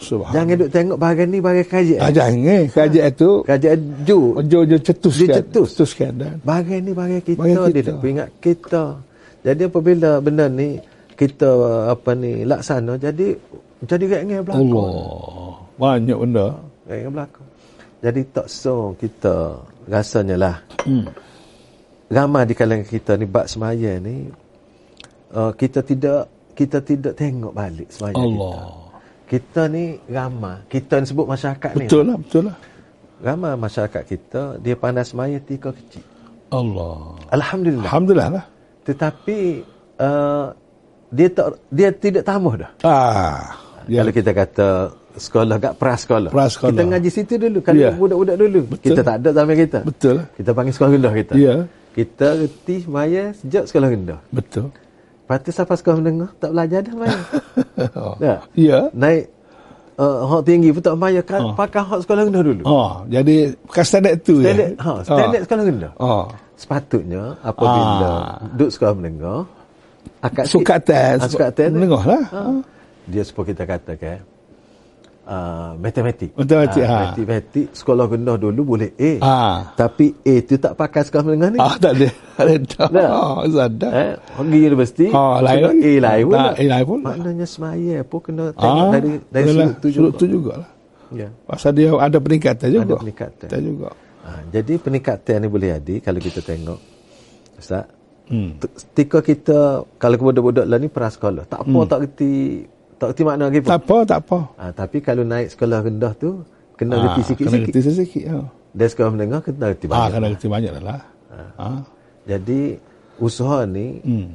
Speaker 4: Subhanallah.
Speaker 3: Jangan duk tengok bagai ni bagai
Speaker 4: Ah,
Speaker 3: kajian.
Speaker 4: jangan. Kerajaan itu
Speaker 3: Kajian ju.
Speaker 4: ojo ojo cetus
Speaker 3: Dia
Speaker 4: kan.
Speaker 3: cetus.
Speaker 4: Cetus kan. Dan.
Speaker 3: Bagai ni bagai kita,
Speaker 4: Bagai
Speaker 3: dia
Speaker 4: kita.
Speaker 3: nak ingat kita. Jadi apabila benda ni kita apa ni laksana jadi jadi geng belakang.
Speaker 4: Allah. Banyak benda.
Speaker 3: Yang berlaku. Jadi tak so kita rasanya lah. Hmm. Ramai di kalangan kita ni bab semaya ni uh, kita tidak kita tidak tengok balik semaya
Speaker 4: Allah.
Speaker 3: kita. Kita ni ramai. Kita yang sebut masyarakat ni.
Speaker 4: Betul lah, betul lah.
Speaker 3: Ramai masyarakat kita dia pandai semaya tika kecil.
Speaker 4: Allah.
Speaker 3: Alhamdulillah.
Speaker 4: Alhamdulillah lah.
Speaker 3: Tetapi uh, dia tak dia tidak tambah dah.
Speaker 4: Ah. Ya.
Speaker 3: Kalau kita kata sekolah kat prasekolah.
Speaker 4: Prasekolah.
Speaker 3: Kita ngaji situ dulu. Kalau
Speaker 4: Ya.
Speaker 3: budak-budak dulu.
Speaker 4: Betul.
Speaker 3: Kita tak ada zaman kita.
Speaker 4: Betul lah.
Speaker 3: Kita panggil sekolah rendah kita.
Speaker 4: Ya.
Speaker 3: Kita reti maya sejak sekolah rendah.
Speaker 4: Betul.
Speaker 3: Lepas tu sampai sekolah menengah tak belajar dah maya. tak?
Speaker 4: Ya. Ha.
Speaker 3: Naik uh, hak tinggi pun tak maya. Kan, Pakai hak sekolah rendah dulu.
Speaker 4: Oh, jadi bukan standard tu
Speaker 3: Standard,
Speaker 4: ya.
Speaker 3: ha, standard sekolah rendah.
Speaker 4: Oh.
Speaker 3: Sepatutnya apabila
Speaker 4: Ah.
Speaker 3: duduk sekolah menengah akad
Speaker 4: Sukatan,
Speaker 3: ah, sukatan
Speaker 4: suk- menengah lah.
Speaker 3: Ha. Dia seperti kita katakan uh, kan. matematik.
Speaker 4: Matematik,
Speaker 3: Ah,
Speaker 4: ha.
Speaker 3: Matematik sekolah rendah dulu boleh A.
Speaker 4: Ah.
Speaker 3: Tapi A tu tak pakai sekolah menengah ni.
Speaker 4: Ah, tak ada. Tak ada.
Speaker 3: Dah.
Speaker 4: Oh, sadar.
Speaker 3: Eh, pergi universiti
Speaker 4: Ah, lain
Speaker 3: kena
Speaker 4: lagi.
Speaker 3: A lain pula.
Speaker 4: Ah, A lain pula.
Speaker 3: Maknanya semaya pun kena tengok dari dari
Speaker 4: yalah,
Speaker 3: sudut tu
Speaker 4: Ah, lah. Sudut
Speaker 3: juga.
Speaker 4: tu jugalah.
Speaker 3: Ya.
Speaker 4: Pasal dia ada peningkatan juga.
Speaker 3: peningkatan.
Speaker 4: Ada juga.
Speaker 3: Ha, jadi peningkatan ni boleh jadi kalau kita tengok Ustaz. Hmm. Ketika kita kalau budak-budak lah ni prasekolah, tak apa hmm. tak reti tak reti makna lagi pun.
Speaker 4: Tak apa, tak apa.
Speaker 3: Ha, tapi kalau naik sekolah rendah tu kena
Speaker 4: Ah,
Speaker 3: reti
Speaker 4: Kena
Speaker 3: sikit-sikit.
Speaker 4: reti sikit. Ha.
Speaker 3: Dari sekolah menengah kena reti
Speaker 4: Ah,
Speaker 3: banyak. Ah.
Speaker 4: kena reti banyak lah. Ha.
Speaker 3: Jadi usaha ni hmm.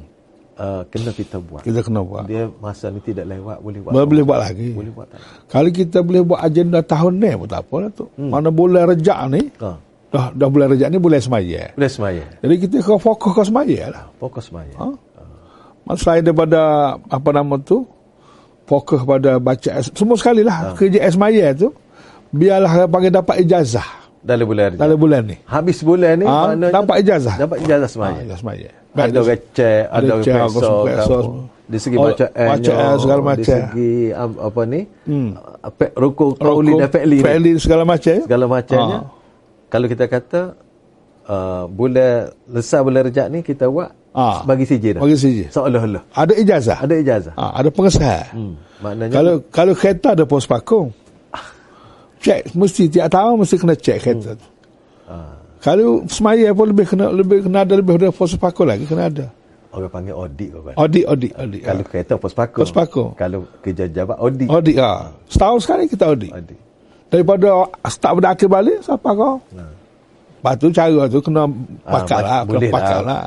Speaker 3: uh, kena kita buat.
Speaker 4: Kita kena buat.
Speaker 3: Dia masa ni tidak lewat boleh buat.
Speaker 4: Boleh, boleh buat lagi.
Speaker 3: Boleh buat tak?
Speaker 4: Kalau kita boleh buat agenda tahun ni pun tak apa lah tu.
Speaker 3: Hmm.
Speaker 4: Mana bulan rejak ni,
Speaker 3: Ha.
Speaker 4: dah, dah bulan rejak ni bulan semaya.
Speaker 3: Boleh semaya.
Speaker 4: Jadi kita kena fokus ke semaya lah.
Speaker 3: Fokus semaya.
Speaker 4: Ha? Selain daripada apa nama tu, fokus pada baca semua
Speaker 3: Ah.
Speaker 4: sekali lah kerja semaya tu. Biarlah orang panggil dapat ijazah
Speaker 3: Dalam bulan rejab.
Speaker 4: dalam bulan ni.
Speaker 3: Habis bulan ni
Speaker 4: Ah,
Speaker 3: maknanya
Speaker 4: dapat ijazah.
Speaker 3: Dapat ijazah semaya.
Speaker 4: Ha, ijazah semaya. Baik,
Speaker 3: ada
Speaker 4: ijazah-
Speaker 3: receh, ada
Speaker 4: receh,
Speaker 3: peso,
Speaker 4: kosong peso.
Speaker 3: di segi
Speaker 4: Oh,
Speaker 3: bacaannya,
Speaker 4: bacaan segala
Speaker 3: di
Speaker 4: macam.
Speaker 3: segi um, apa ni, hmm. rukun kauli
Speaker 4: Rokok,
Speaker 3: dan fi'li, ni,
Speaker 4: Fi'li segala macam. ya?
Speaker 3: segala macamnya.
Speaker 4: Ah.
Speaker 3: Kalau kita kata uh, bulan lesa bulan rejab ni kita buat
Speaker 4: Ah.
Speaker 3: bagi sijil dah.
Speaker 4: Bagi sijil.
Speaker 3: Seolah-olah
Speaker 4: Ada ijazah.
Speaker 3: ada ijazah.
Speaker 4: Ha, ada pengesahan.
Speaker 3: Hmm. Maknanya
Speaker 4: Kalau kalau kereta ada pos pakung. Cek mesti tiap tahun mesti kena
Speaker 3: Hmm.
Speaker 4: cek kereta tu.
Speaker 3: Ah.
Speaker 4: Kalau semaya pun lebih kena lebih kena ada lebih daripada pos pakung lagi kena ada.
Speaker 3: orang panggil audit kau kan.
Speaker 4: Audit audit audit.
Speaker 3: Kalau kereta pos pakar.
Speaker 4: Pos pakar.
Speaker 3: Kalau kerja jabat audit.
Speaker 4: ha. audit ha. Setahun sekali kita audit.
Speaker 3: Audit.
Speaker 4: Daripada start pada akhir balik siapa kau? Lepas tu cara tu kena
Speaker 3: Ah,
Speaker 4: pakar lah,
Speaker 3: boleh
Speaker 4: kena pakar lah.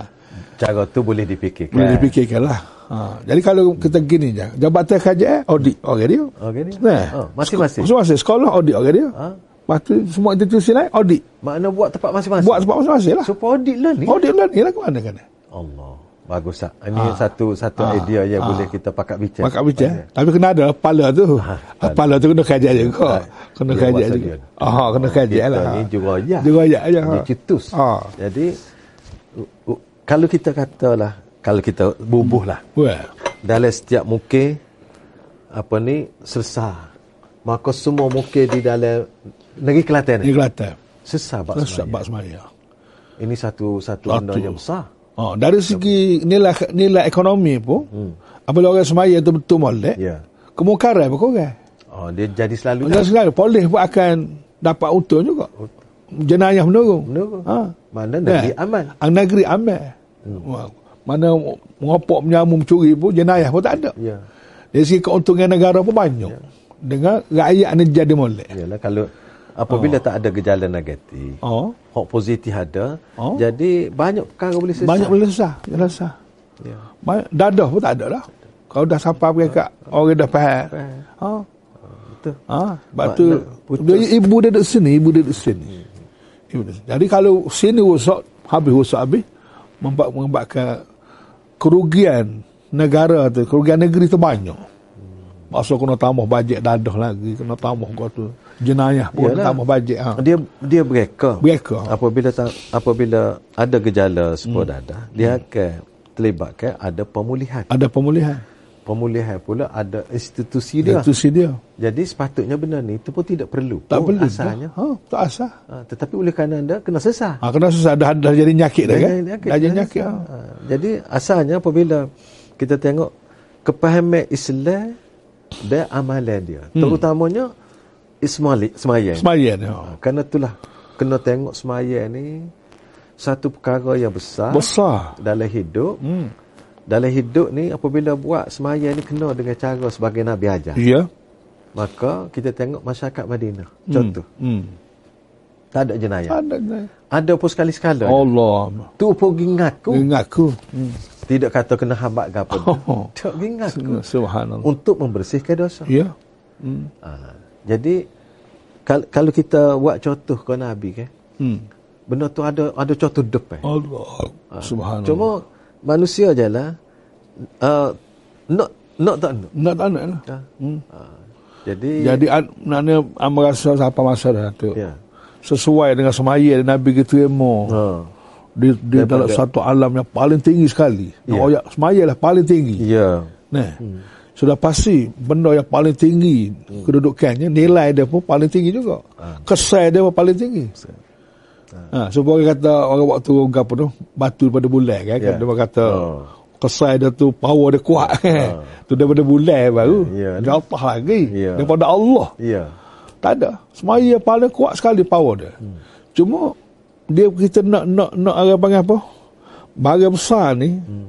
Speaker 3: Cara tu boleh dipikirkan.
Speaker 4: Boleh dipikirkan lah. Ha, jadi kalau kita gini je, jabatan kerajaan audit orang dia.
Speaker 3: Okey dia.
Speaker 4: Nah.
Speaker 3: Oh, masing-masing.
Speaker 4: Masing-masing. Sekolah audit orang dia.
Speaker 3: Ha?
Speaker 4: Lepas tu semua institusi lain audit.
Speaker 3: Makna buat tempat masing-masing.
Speaker 4: Buat sebab masing-masing lah.
Speaker 3: Supaya audit lah ni.
Speaker 4: Audit lah ni lah ke mana kan?
Speaker 3: Allah. Bagus tak? Ini satu satu idea yang boleh kita pakat bicara.
Speaker 4: Maka bicara. Tapi kena ada kepala tu. Ha, Kepala tu kena kajian juga. Kena
Speaker 3: Ha, Dia
Speaker 4: kajian
Speaker 3: buat
Speaker 4: juga.
Speaker 3: salian.
Speaker 4: Oh, kena kajian
Speaker 3: kita
Speaker 4: lah.
Speaker 3: ni juroyak.
Speaker 4: Juroyak je.
Speaker 3: Dia cetus.
Speaker 4: Ha.
Speaker 3: Jadi u- u- kalau kita katalah kalau kita bubuhlah
Speaker 4: Wah.
Speaker 3: dalam setiap mungkin apa ni sesah. Maka semua mungkin di dalam negeri Kelantan ni
Speaker 4: Ini Kelantan.
Speaker 3: sesah bab
Speaker 4: Terus
Speaker 3: semaya.
Speaker 4: bak semaya.
Speaker 3: Ini satu satu benda
Speaker 4: Satu.
Speaker 3: yang besar.
Speaker 4: Oh, dari segi nilai nilai ekonomi pun, apabila orang semaya tu betul molek,
Speaker 3: Hmm. Ya.
Speaker 4: kemungkaran berkurang.
Speaker 3: Oh dia jadi selalu
Speaker 4: Jangan selalu polis pun akan dapat untung juga. Jenayah menurun.
Speaker 3: Menurun.
Speaker 4: Ha.
Speaker 3: Mana negeri
Speaker 4: Ya.
Speaker 3: aman. Hmm.
Speaker 4: Ang negeri aman. Wah. Mana mengopok menyamu mencuri pun jenayah pun tak ada.
Speaker 3: Ya.
Speaker 4: Dari segi keuntungan negara pun banyak. Dengan rakyat ni jadi molek.
Speaker 3: Yalah kalau apabila oh. tak ada gejala negatif, oh.
Speaker 4: Oh.
Speaker 3: hak positif ada,
Speaker 4: Oh.
Speaker 3: oh. jadi banyak perkara boleh selesai.
Speaker 4: Banyak boleh susah. Jalan susah.
Speaker 3: Ya.
Speaker 4: Banyak- Dadah pun tak ada lah. Kalau dah sampai mereka, orang dah faham.
Speaker 3: Faham.
Speaker 4: Ha.
Speaker 3: Betul.
Speaker 4: Ha, lepas
Speaker 3: Makna
Speaker 4: tu
Speaker 3: putus.
Speaker 4: dia, ibu dia duduk sini, ibu dia duduk sini. Ibu dia. sini. Jadi kalau sini rosak, habis rosak habis, membuat membuatkan kerugian negara tu, kerugian negeri tu banyak. Maksud kena tambah bajet dadah lagi, kena tambah kau tu. Jenayah pun kena
Speaker 3: Yalah.
Speaker 4: tambah bajet. Ha.
Speaker 3: Dia dia bereka.
Speaker 4: Bereka.
Speaker 3: Apabila tak, apabila ada gejala sepuluh hmm. dadah, dia akan terlibatkan ada pemulihan.
Speaker 4: Ada pemulihan.
Speaker 3: Pemulihan pula ada institusi dia.
Speaker 4: Institusi dia.
Speaker 3: Jadi sepatutnya benda ni itu pun tidak perlu.
Speaker 4: Tak
Speaker 3: pun
Speaker 4: perlu.
Speaker 3: Oh, asalnya.
Speaker 4: Ha, tak asal.
Speaker 3: Ha, tetapi oleh kerana anda kena sesah.
Speaker 4: Ha, kena susah dah, dah jadi nyakit dah kan? Dah jadi nyakit. Ha.
Speaker 3: Ha, Jadi asalnya apabila kita tengok kepahaman Islam dan amalan dia. Hmm. Terutamanya ismalik, semayan.
Speaker 4: Semayan. Ha.
Speaker 3: Ha, Kerana itulah kena tengok semayan ni satu perkara yang besar,
Speaker 4: Besar.
Speaker 3: dalam hidup. Hmm. Dalam hidup ni apabila buat semayan ni kena dengan cara sebagai Nabi ajar.
Speaker 4: Ya.
Speaker 3: Maka kita tengok masyarakat Madinah. Contoh,
Speaker 4: Hmm.
Speaker 3: tak ada jenayah.
Speaker 4: Ada. dah.
Speaker 3: Ada pun sekali-sekala.
Speaker 4: Allah.
Speaker 3: Tu pun gingaku.
Speaker 4: Ingat aku. Hmm.
Speaker 3: Tidak kata kena habat ke apa.
Speaker 4: Oh.
Speaker 3: Oh. Tak ingat aku.
Speaker 4: Subhanallah.
Speaker 3: Untuk membersihkan dosa.
Speaker 4: Ya.
Speaker 3: Ha. Jadi kal- kalau kita buat contoh ke Nabi kan.
Speaker 4: Hmm.
Speaker 3: Benda tu ada ada contoh depan. Oh.
Speaker 4: Allah. Subhanallah.
Speaker 3: Cuma manusia je lah. Uh, nak nak tak nak.
Speaker 4: nak tak nak lah.
Speaker 3: Ha. Hmm. Ha. Jadi,
Speaker 4: Jadi an- mana an merasa apa masa dah tu.
Speaker 3: ya.
Speaker 4: Sesuai dengan semaya dan Nabi kita ilmu.
Speaker 3: Ha.
Speaker 4: Di, di dalam
Speaker 3: Daripada-
Speaker 4: satu alam yang paling tinggi sekali.
Speaker 3: Ya.
Speaker 4: Oh ya, semaya lah paling tinggi.
Speaker 3: Ya.
Speaker 4: Nah. Sudah pasti benda yang paling tinggi kedudukannya nilai dia pun paling tinggi juga.
Speaker 3: Ah.
Speaker 4: Kesai dia pun paling tinggi. Ha, so orang kata orang waktu apa tu batu daripada bulan kan, yeah.
Speaker 3: Ya.
Speaker 4: dia orang kata
Speaker 3: Oh. Ah.
Speaker 4: kesai dia tu power dia kuat kan. Tu daripada bulan baru.
Speaker 3: Ya, ya.
Speaker 4: Jatah lagi
Speaker 3: Ya.
Speaker 4: daripada Allah.
Speaker 3: Ya.
Speaker 4: Tak ada. Semaya paling kuat sekali power dia. Hmm. Cuma dia kita nak nak nak orang panggil apa? Barang besar ni hmm.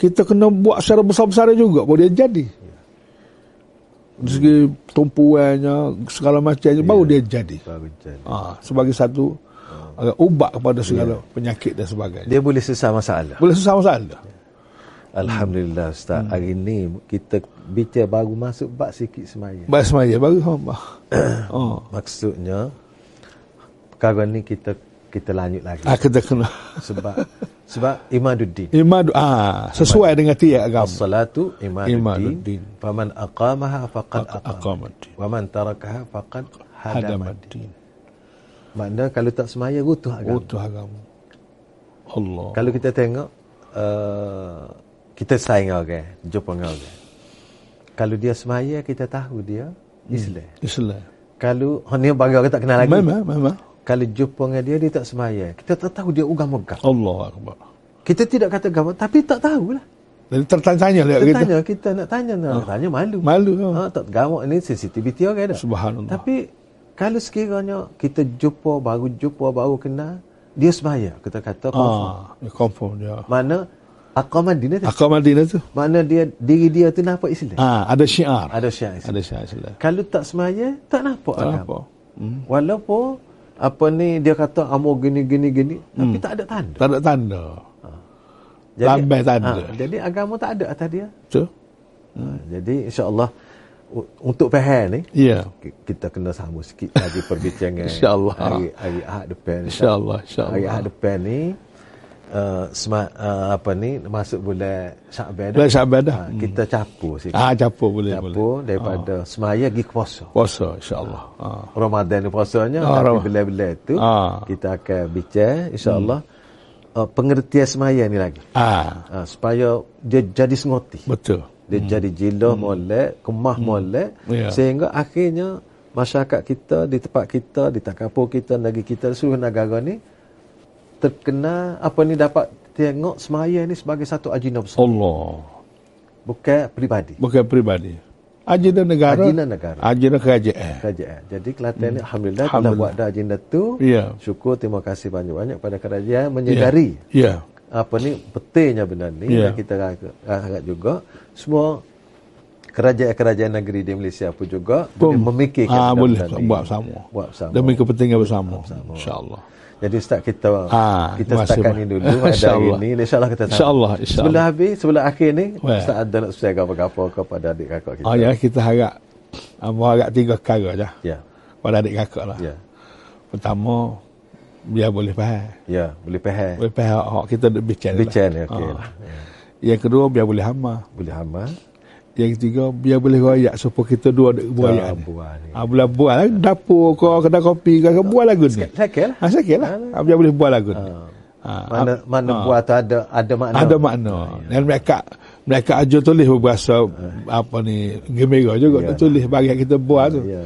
Speaker 4: kita kena buat secara besar-besar juga baru dia jadi. Dari segi tumpuannya segala macamnya baru dia jadi.
Speaker 3: Baru jadi.
Speaker 4: Ha, sebagai satu agak ubat kepada segala penyakit dan sebagainya.
Speaker 3: Dia boleh selesai masalah.
Speaker 4: Boleh Hmm. susah masalah.
Speaker 3: Alhamdulillah Ustaz. Hari ni kita bicara baru masuk bab sikit semaya.
Speaker 4: Baik semaya baru hamba. Oh.
Speaker 3: Maksudnya perkara ni kita kita lanjut lagi
Speaker 4: Ah, kita kena
Speaker 3: sebab sebab imaduddin.
Speaker 4: imadu ah sesuai dengan tiap agama.
Speaker 3: As-salatu
Speaker 4: Imaduddin.
Speaker 3: imaduddin. Faman aqamaha faqad aqam.
Speaker 4: Aqamat.
Speaker 3: Wa man tarakaha faqad hadamat.
Speaker 4: Hadamadin.
Speaker 3: Makna kalau tak semaya rutuh agama.
Speaker 4: Utuh agama. Allah.
Speaker 3: Kalau kita tengok uh, kita saing orang, jumpa dengan orang. Kalau dia semaya kita tahu dia Islam.
Speaker 4: Islam.
Speaker 3: Kalau hanya bagi orang tak kenal lagi.
Speaker 4: Memang, memang.
Speaker 3: Kalau jumpa dengan dia dia tak semaya. Kita tak tahu dia agama-agama.
Speaker 4: Allah Akbar.
Speaker 3: Kita tidak kata agama tapi tak tahulah.
Speaker 4: Jadi tertanya-tanya lihat
Speaker 3: Kita
Speaker 4: kita.
Speaker 3: tanya, kita nak tanya, nak tanya malu.
Speaker 4: Malu, ha.
Speaker 3: Ha, tak agama ni sensitiviti orang ada.
Speaker 4: Subhanallah.
Speaker 3: Tapi kalau sekiranya kita jumpa baru jumpa baru kenal, dia semaya. Kita kata confirm.
Speaker 4: Ah, dia confirm dia.
Speaker 3: Mana agama dia tu.
Speaker 4: Akal Madinah tu.
Speaker 3: Mana dia diri dia tu nampak Islam.
Speaker 4: Ah, ada syiar.
Speaker 3: Ada syiar Islam.
Speaker 4: Ada syiar Islam.
Speaker 3: Kalau tak semaya, tak nampak
Speaker 4: Tak
Speaker 3: agama.
Speaker 4: apa. Hmm.
Speaker 3: Walaupun apa ni dia kata amo gini gini gini, tapi tak ada tanda.
Speaker 4: Hmm. Tak ada tanda. Hmm. Lambai tak ada.
Speaker 3: Ha, jadi agama tak ada atas dia.
Speaker 4: Betul?
Speaker 3: Ha, jadi insya-Allah u- untuk pahal ni
Speaker 4: Ya.
Speaker 3: ki- kita kena sambung sikit lagi perbincangan
Speaker 4: InsyaAllah.
Speaker 3: hari hari Ahad depan
Speaker 4: InsyaAllah, insyaAllah.
Speaker 3: hari Ahad depan ni uh, smart, uh, apa ni masuk bulan Syaban dah.
Speaker 4: Bulan Syakban dah. Hmm.
Speaker 3: Ha, kita capur sikit
Speaker 4: Ah, capur boleh
Speaker 3: capur
Speaker 4: boleh. Ah.
Speaker 3: daripada semaya pergi puasa
Speaker 4: Puasa insya-Allah. Ha.
Speaker 3: Ramadan ni puasanya
Speaker 4: Ah,
Speaker 3: tapi
Speaker 4: Ramadan.
Speaker 3: bila-bila tu
Speaker 4: Ah. Hmm.
Speaker 3: kita akan bicara insya-Allah uh, pengertian semaya ni lagi
Speaker 4: Ah,
Speaker 3: uh, supaya dia jadi sengoti
Speaker 4: betul.
Speaker 3: dia hmm. jadi jilah hmm. molek, kemah hmm. molek
Speaker 4: Ya.
Speaker 3: sehingga akhirnya masyarakat kita di tempat kita, di tak kampung kita, negeri kita seluruh negara ni terkena apa ni dapat tengok semaya ni sebagai satu agenda
Speaker 4: Oh.
Speaker 3: besar,
Speaker 4: Allah.
Speaker 3: bukan peribadi.
Speaker 4: Bukan peribadi. Agenda negara.
Speaker 3: Agenda negara.
Speaker 4: Agenda kerajaan.
Speaker 3: kerajaan. Jadi Kelantan ni alhamdulillah, telah
Speaker 4: Hmm. Alhamdulillah.
Speaker 3: buat dah agenda tu.
Speaker 4: Ya.
Speaker 3: Syukur terima kasih banyak-banyak pada kerajaan menyedari
Speaker 4: Ya.
Speaker 3: apa ni pentingnya benda ni
Speaker 4: Ya.
Speaker 3: dan kita harap- harap juga semua kerajaan-kerajaan negeri di Malaysia pun juga boleh memikirkan
Speaker 4: ah, boleh
Speaker 3: benda-benda ni.
Speaker 4: buat sama.
Speaker 3: buat sama
Speaker 4: Demi kepentingan bersama. Insya-Allah.
Speaker 3: jadi ustaz kita
Speaker 4: Ah,
Speaker 3: kita
Speaker 4: terima kasih,
Speaker 3: setakat
Speaker 4: Mak.
Speaker 3: ni dulu pada hari
Speaker 4: InsyaAllah.
Speaker 3: ni insyaallah kita sambung.
Speaker 4: InsyaAllah, insyaAllah.
Speaker 3: sebelum habis sebelum akhir ni
Speaker 4: Wah.
Speaker 3: ustaz ada nak share apa-apa kepada adik kakak kita
Speaker 4: Ah, ya kita harap Ambo harap tiga perkara dah.
Speaker 3: ya
Speaker 4: Pada adik kakak lah.
Speaker 3: ya
Speaker 4: Pertama dia boleh faham.
Speaker 3: ya boleh faham
Speaker 4: Boleh faham hak kita duk bicara. lah.
Speaker 3: bicara ni okey
Speaker 4: Ah.
Speaker 3: lah Ya.
Speaker 4: Yang kedua biar boleh hama.
Speaker 3: boleh hama
Speaker 4: Yang ketiga biar boleh royak supaya kita dua duk
Speaker 3: Ah,
Speaker 4: buaya.
Speaker 3: buat ni.
Speaker 4: Ah, boleh buat lah. Dapur ke kedai kopi ke ke buat lagu ni.
Speaker 3: Sakit lah.
Speaker 4: Ah, sakit lah. Ah, biar boleh buat lagu ni. Ah,
Speaker 3: mana
Speaker 4: ah,
Speaker 3: mana
Speaker 4: ah.
Speaker 3: buat tu ada ada makna
Speaker 4: Ada makna. Dan mereka mereka aja tulis berasa apa ni gembira juga
Speaker 3: Ya.
Speaker 4: yeah. tulis bagi kita buat tu.
Speaker 3: ya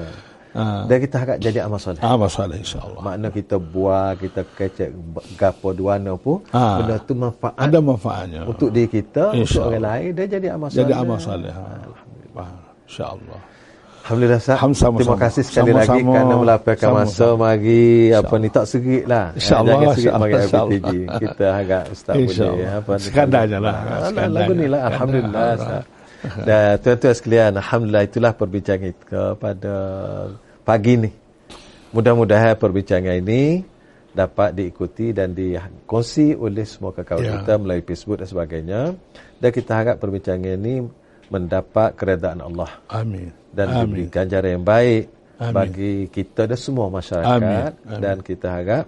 Speaker 4: Ah.
Speaker 3: dan kita harap jadi amal soleh
Speaker 4: Ah masalah insya-Allah.
Speaker 3: Makna kita buah, kita kecek gapo duana pun,
Speaker 4: Ha.
Speaker 3: benda tu manfaat
Speaker 4: Ada manfaatnya.
Speaker 3: untuk diri kita, untuk
Speaker 4: InsyaAllah.
Speaker 3: orang lain dia jadi amal soleh.
Speaker 4: jadi amal soleh. Alhamdulillah. Insya-Allah.
Speaker 3: Alhamdulillah Ustaz.
Speaker 4: Ham- sama-sama.
Speaker 3: Terima kasih sekali lagi
Speaker 4: Sama-sama.
Speaker 3: kerana melapangkan masa
Speaker 4: Sama-sama.
Speaker 3: mari apa ni tak serik lah. Eh,
Speaker 4: InsyaAllah,
Speaker 3: Jangan serik
Speaker 4: insyaAllah,
Speaker 3: mari
Speaker 4: insyaAllah.
Speaker 3: RPG. Kita agak Ustaz boleh ya, eh,
Speaker 4: InsyaAllah.
Speaker 3: apa ni.
Speaker 4: Sekandarnya lah.
Speaker 3: Ah,
Speaker 4: Sekandarnya.
Speaker 3: Lagu ni lah. Alhamdulillah Ustaz. Dan tuan-tuan sekalian, Alhamdulillah itulah perbincangan kita pada pagi ni. Mudah-mudahan perbincangan ini dapat diikuti dan dikongsi oleh semua kawan
Speaker 4: Ya.
Speaker 3: kita melalui Facebook dan sebagainya. Dan kita harap perbincangan ini mendapat keredaan Allah
Speaker 4: Amin.
Speaker 3: dan Amin.
Speaker 4: Amin.
Speaker 3: diberi ganjaran yang baik Amin.
Speaker 4: Amin.
Speaker 3: bagi kita dan semua masyarakat Amin.
Speaker 4: Amin.
Speaker 3: Amin.
Speaker 4: Amin.
Speaker 3: dan kita harap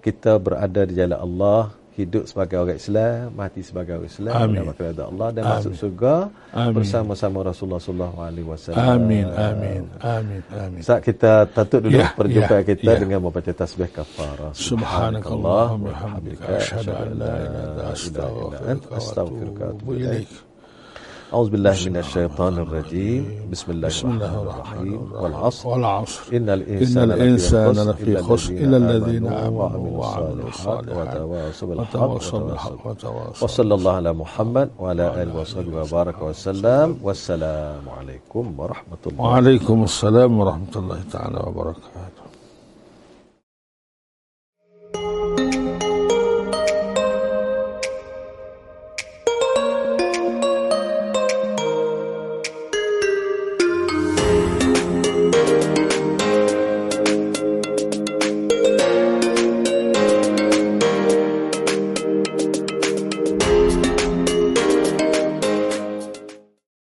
Speaker 3: kita berada di jalan Allah hidup sebagai orang Islam mati sebagai orang Islam
Speaker 4: Amin.
Speaker 3: mendapat keridhaan Allah dan Amin. masuk surga Amin.
Speaker 4: Amin.
Speaker 3: bersama-sama Rasulullah sallallahu alaihi wasallam
Speaker 4: Amin. Amin. Amin. Amin.
Speaker 3: Ustaz kita tutup dulu
Speaker 4: Ya,
Speaker 3: perjumpaan
Speaker 4: ya,
Speaker 3: kita
Speaker 4: ya.
Speaker 3: dengan membaca tasbih kafarah
Speaker 4: Subhanakallah wa bihamdika asyhadu an la ilaha illa
Speaker 3: anta
Speaker 4: anta
Speaker 3: astaghfiruka
Speaker 4: astaghfiruka
Speaker 3: wa
Speaker 4: wa
Speaker 3: atubu ilaik
Speaker 4: ilaik.
Speaker 3: أعوذ بالله من الشيطان الرجيم بسم الله الرحمن الرحيم والعصر
Speaker 4: والعصر
Speaker 3: إن
Speaker 4: إن
Speaker 3: الإنسان
Speaker 4: الإنسان لفي خسر إلا الذين آمنوا
Speaker 3: وعملوا
Speaker 4: وعملوا
Speaker 3: الصالحات
Speaker 4: الصالحات
Speaker 3: وتواصوا بالحق
Speaker 4: وتواصوا
Speaker 3: وتواصوا
Speaker 4: بالحق وتواصوا
Speaker 3: وصلى الله على محمد وعلى آله وصحبه وبارك وسلم والسلام عليكم ورحمة الله
Speaker 4: وعليكم السلام ورحمة الله تعالى وبركاته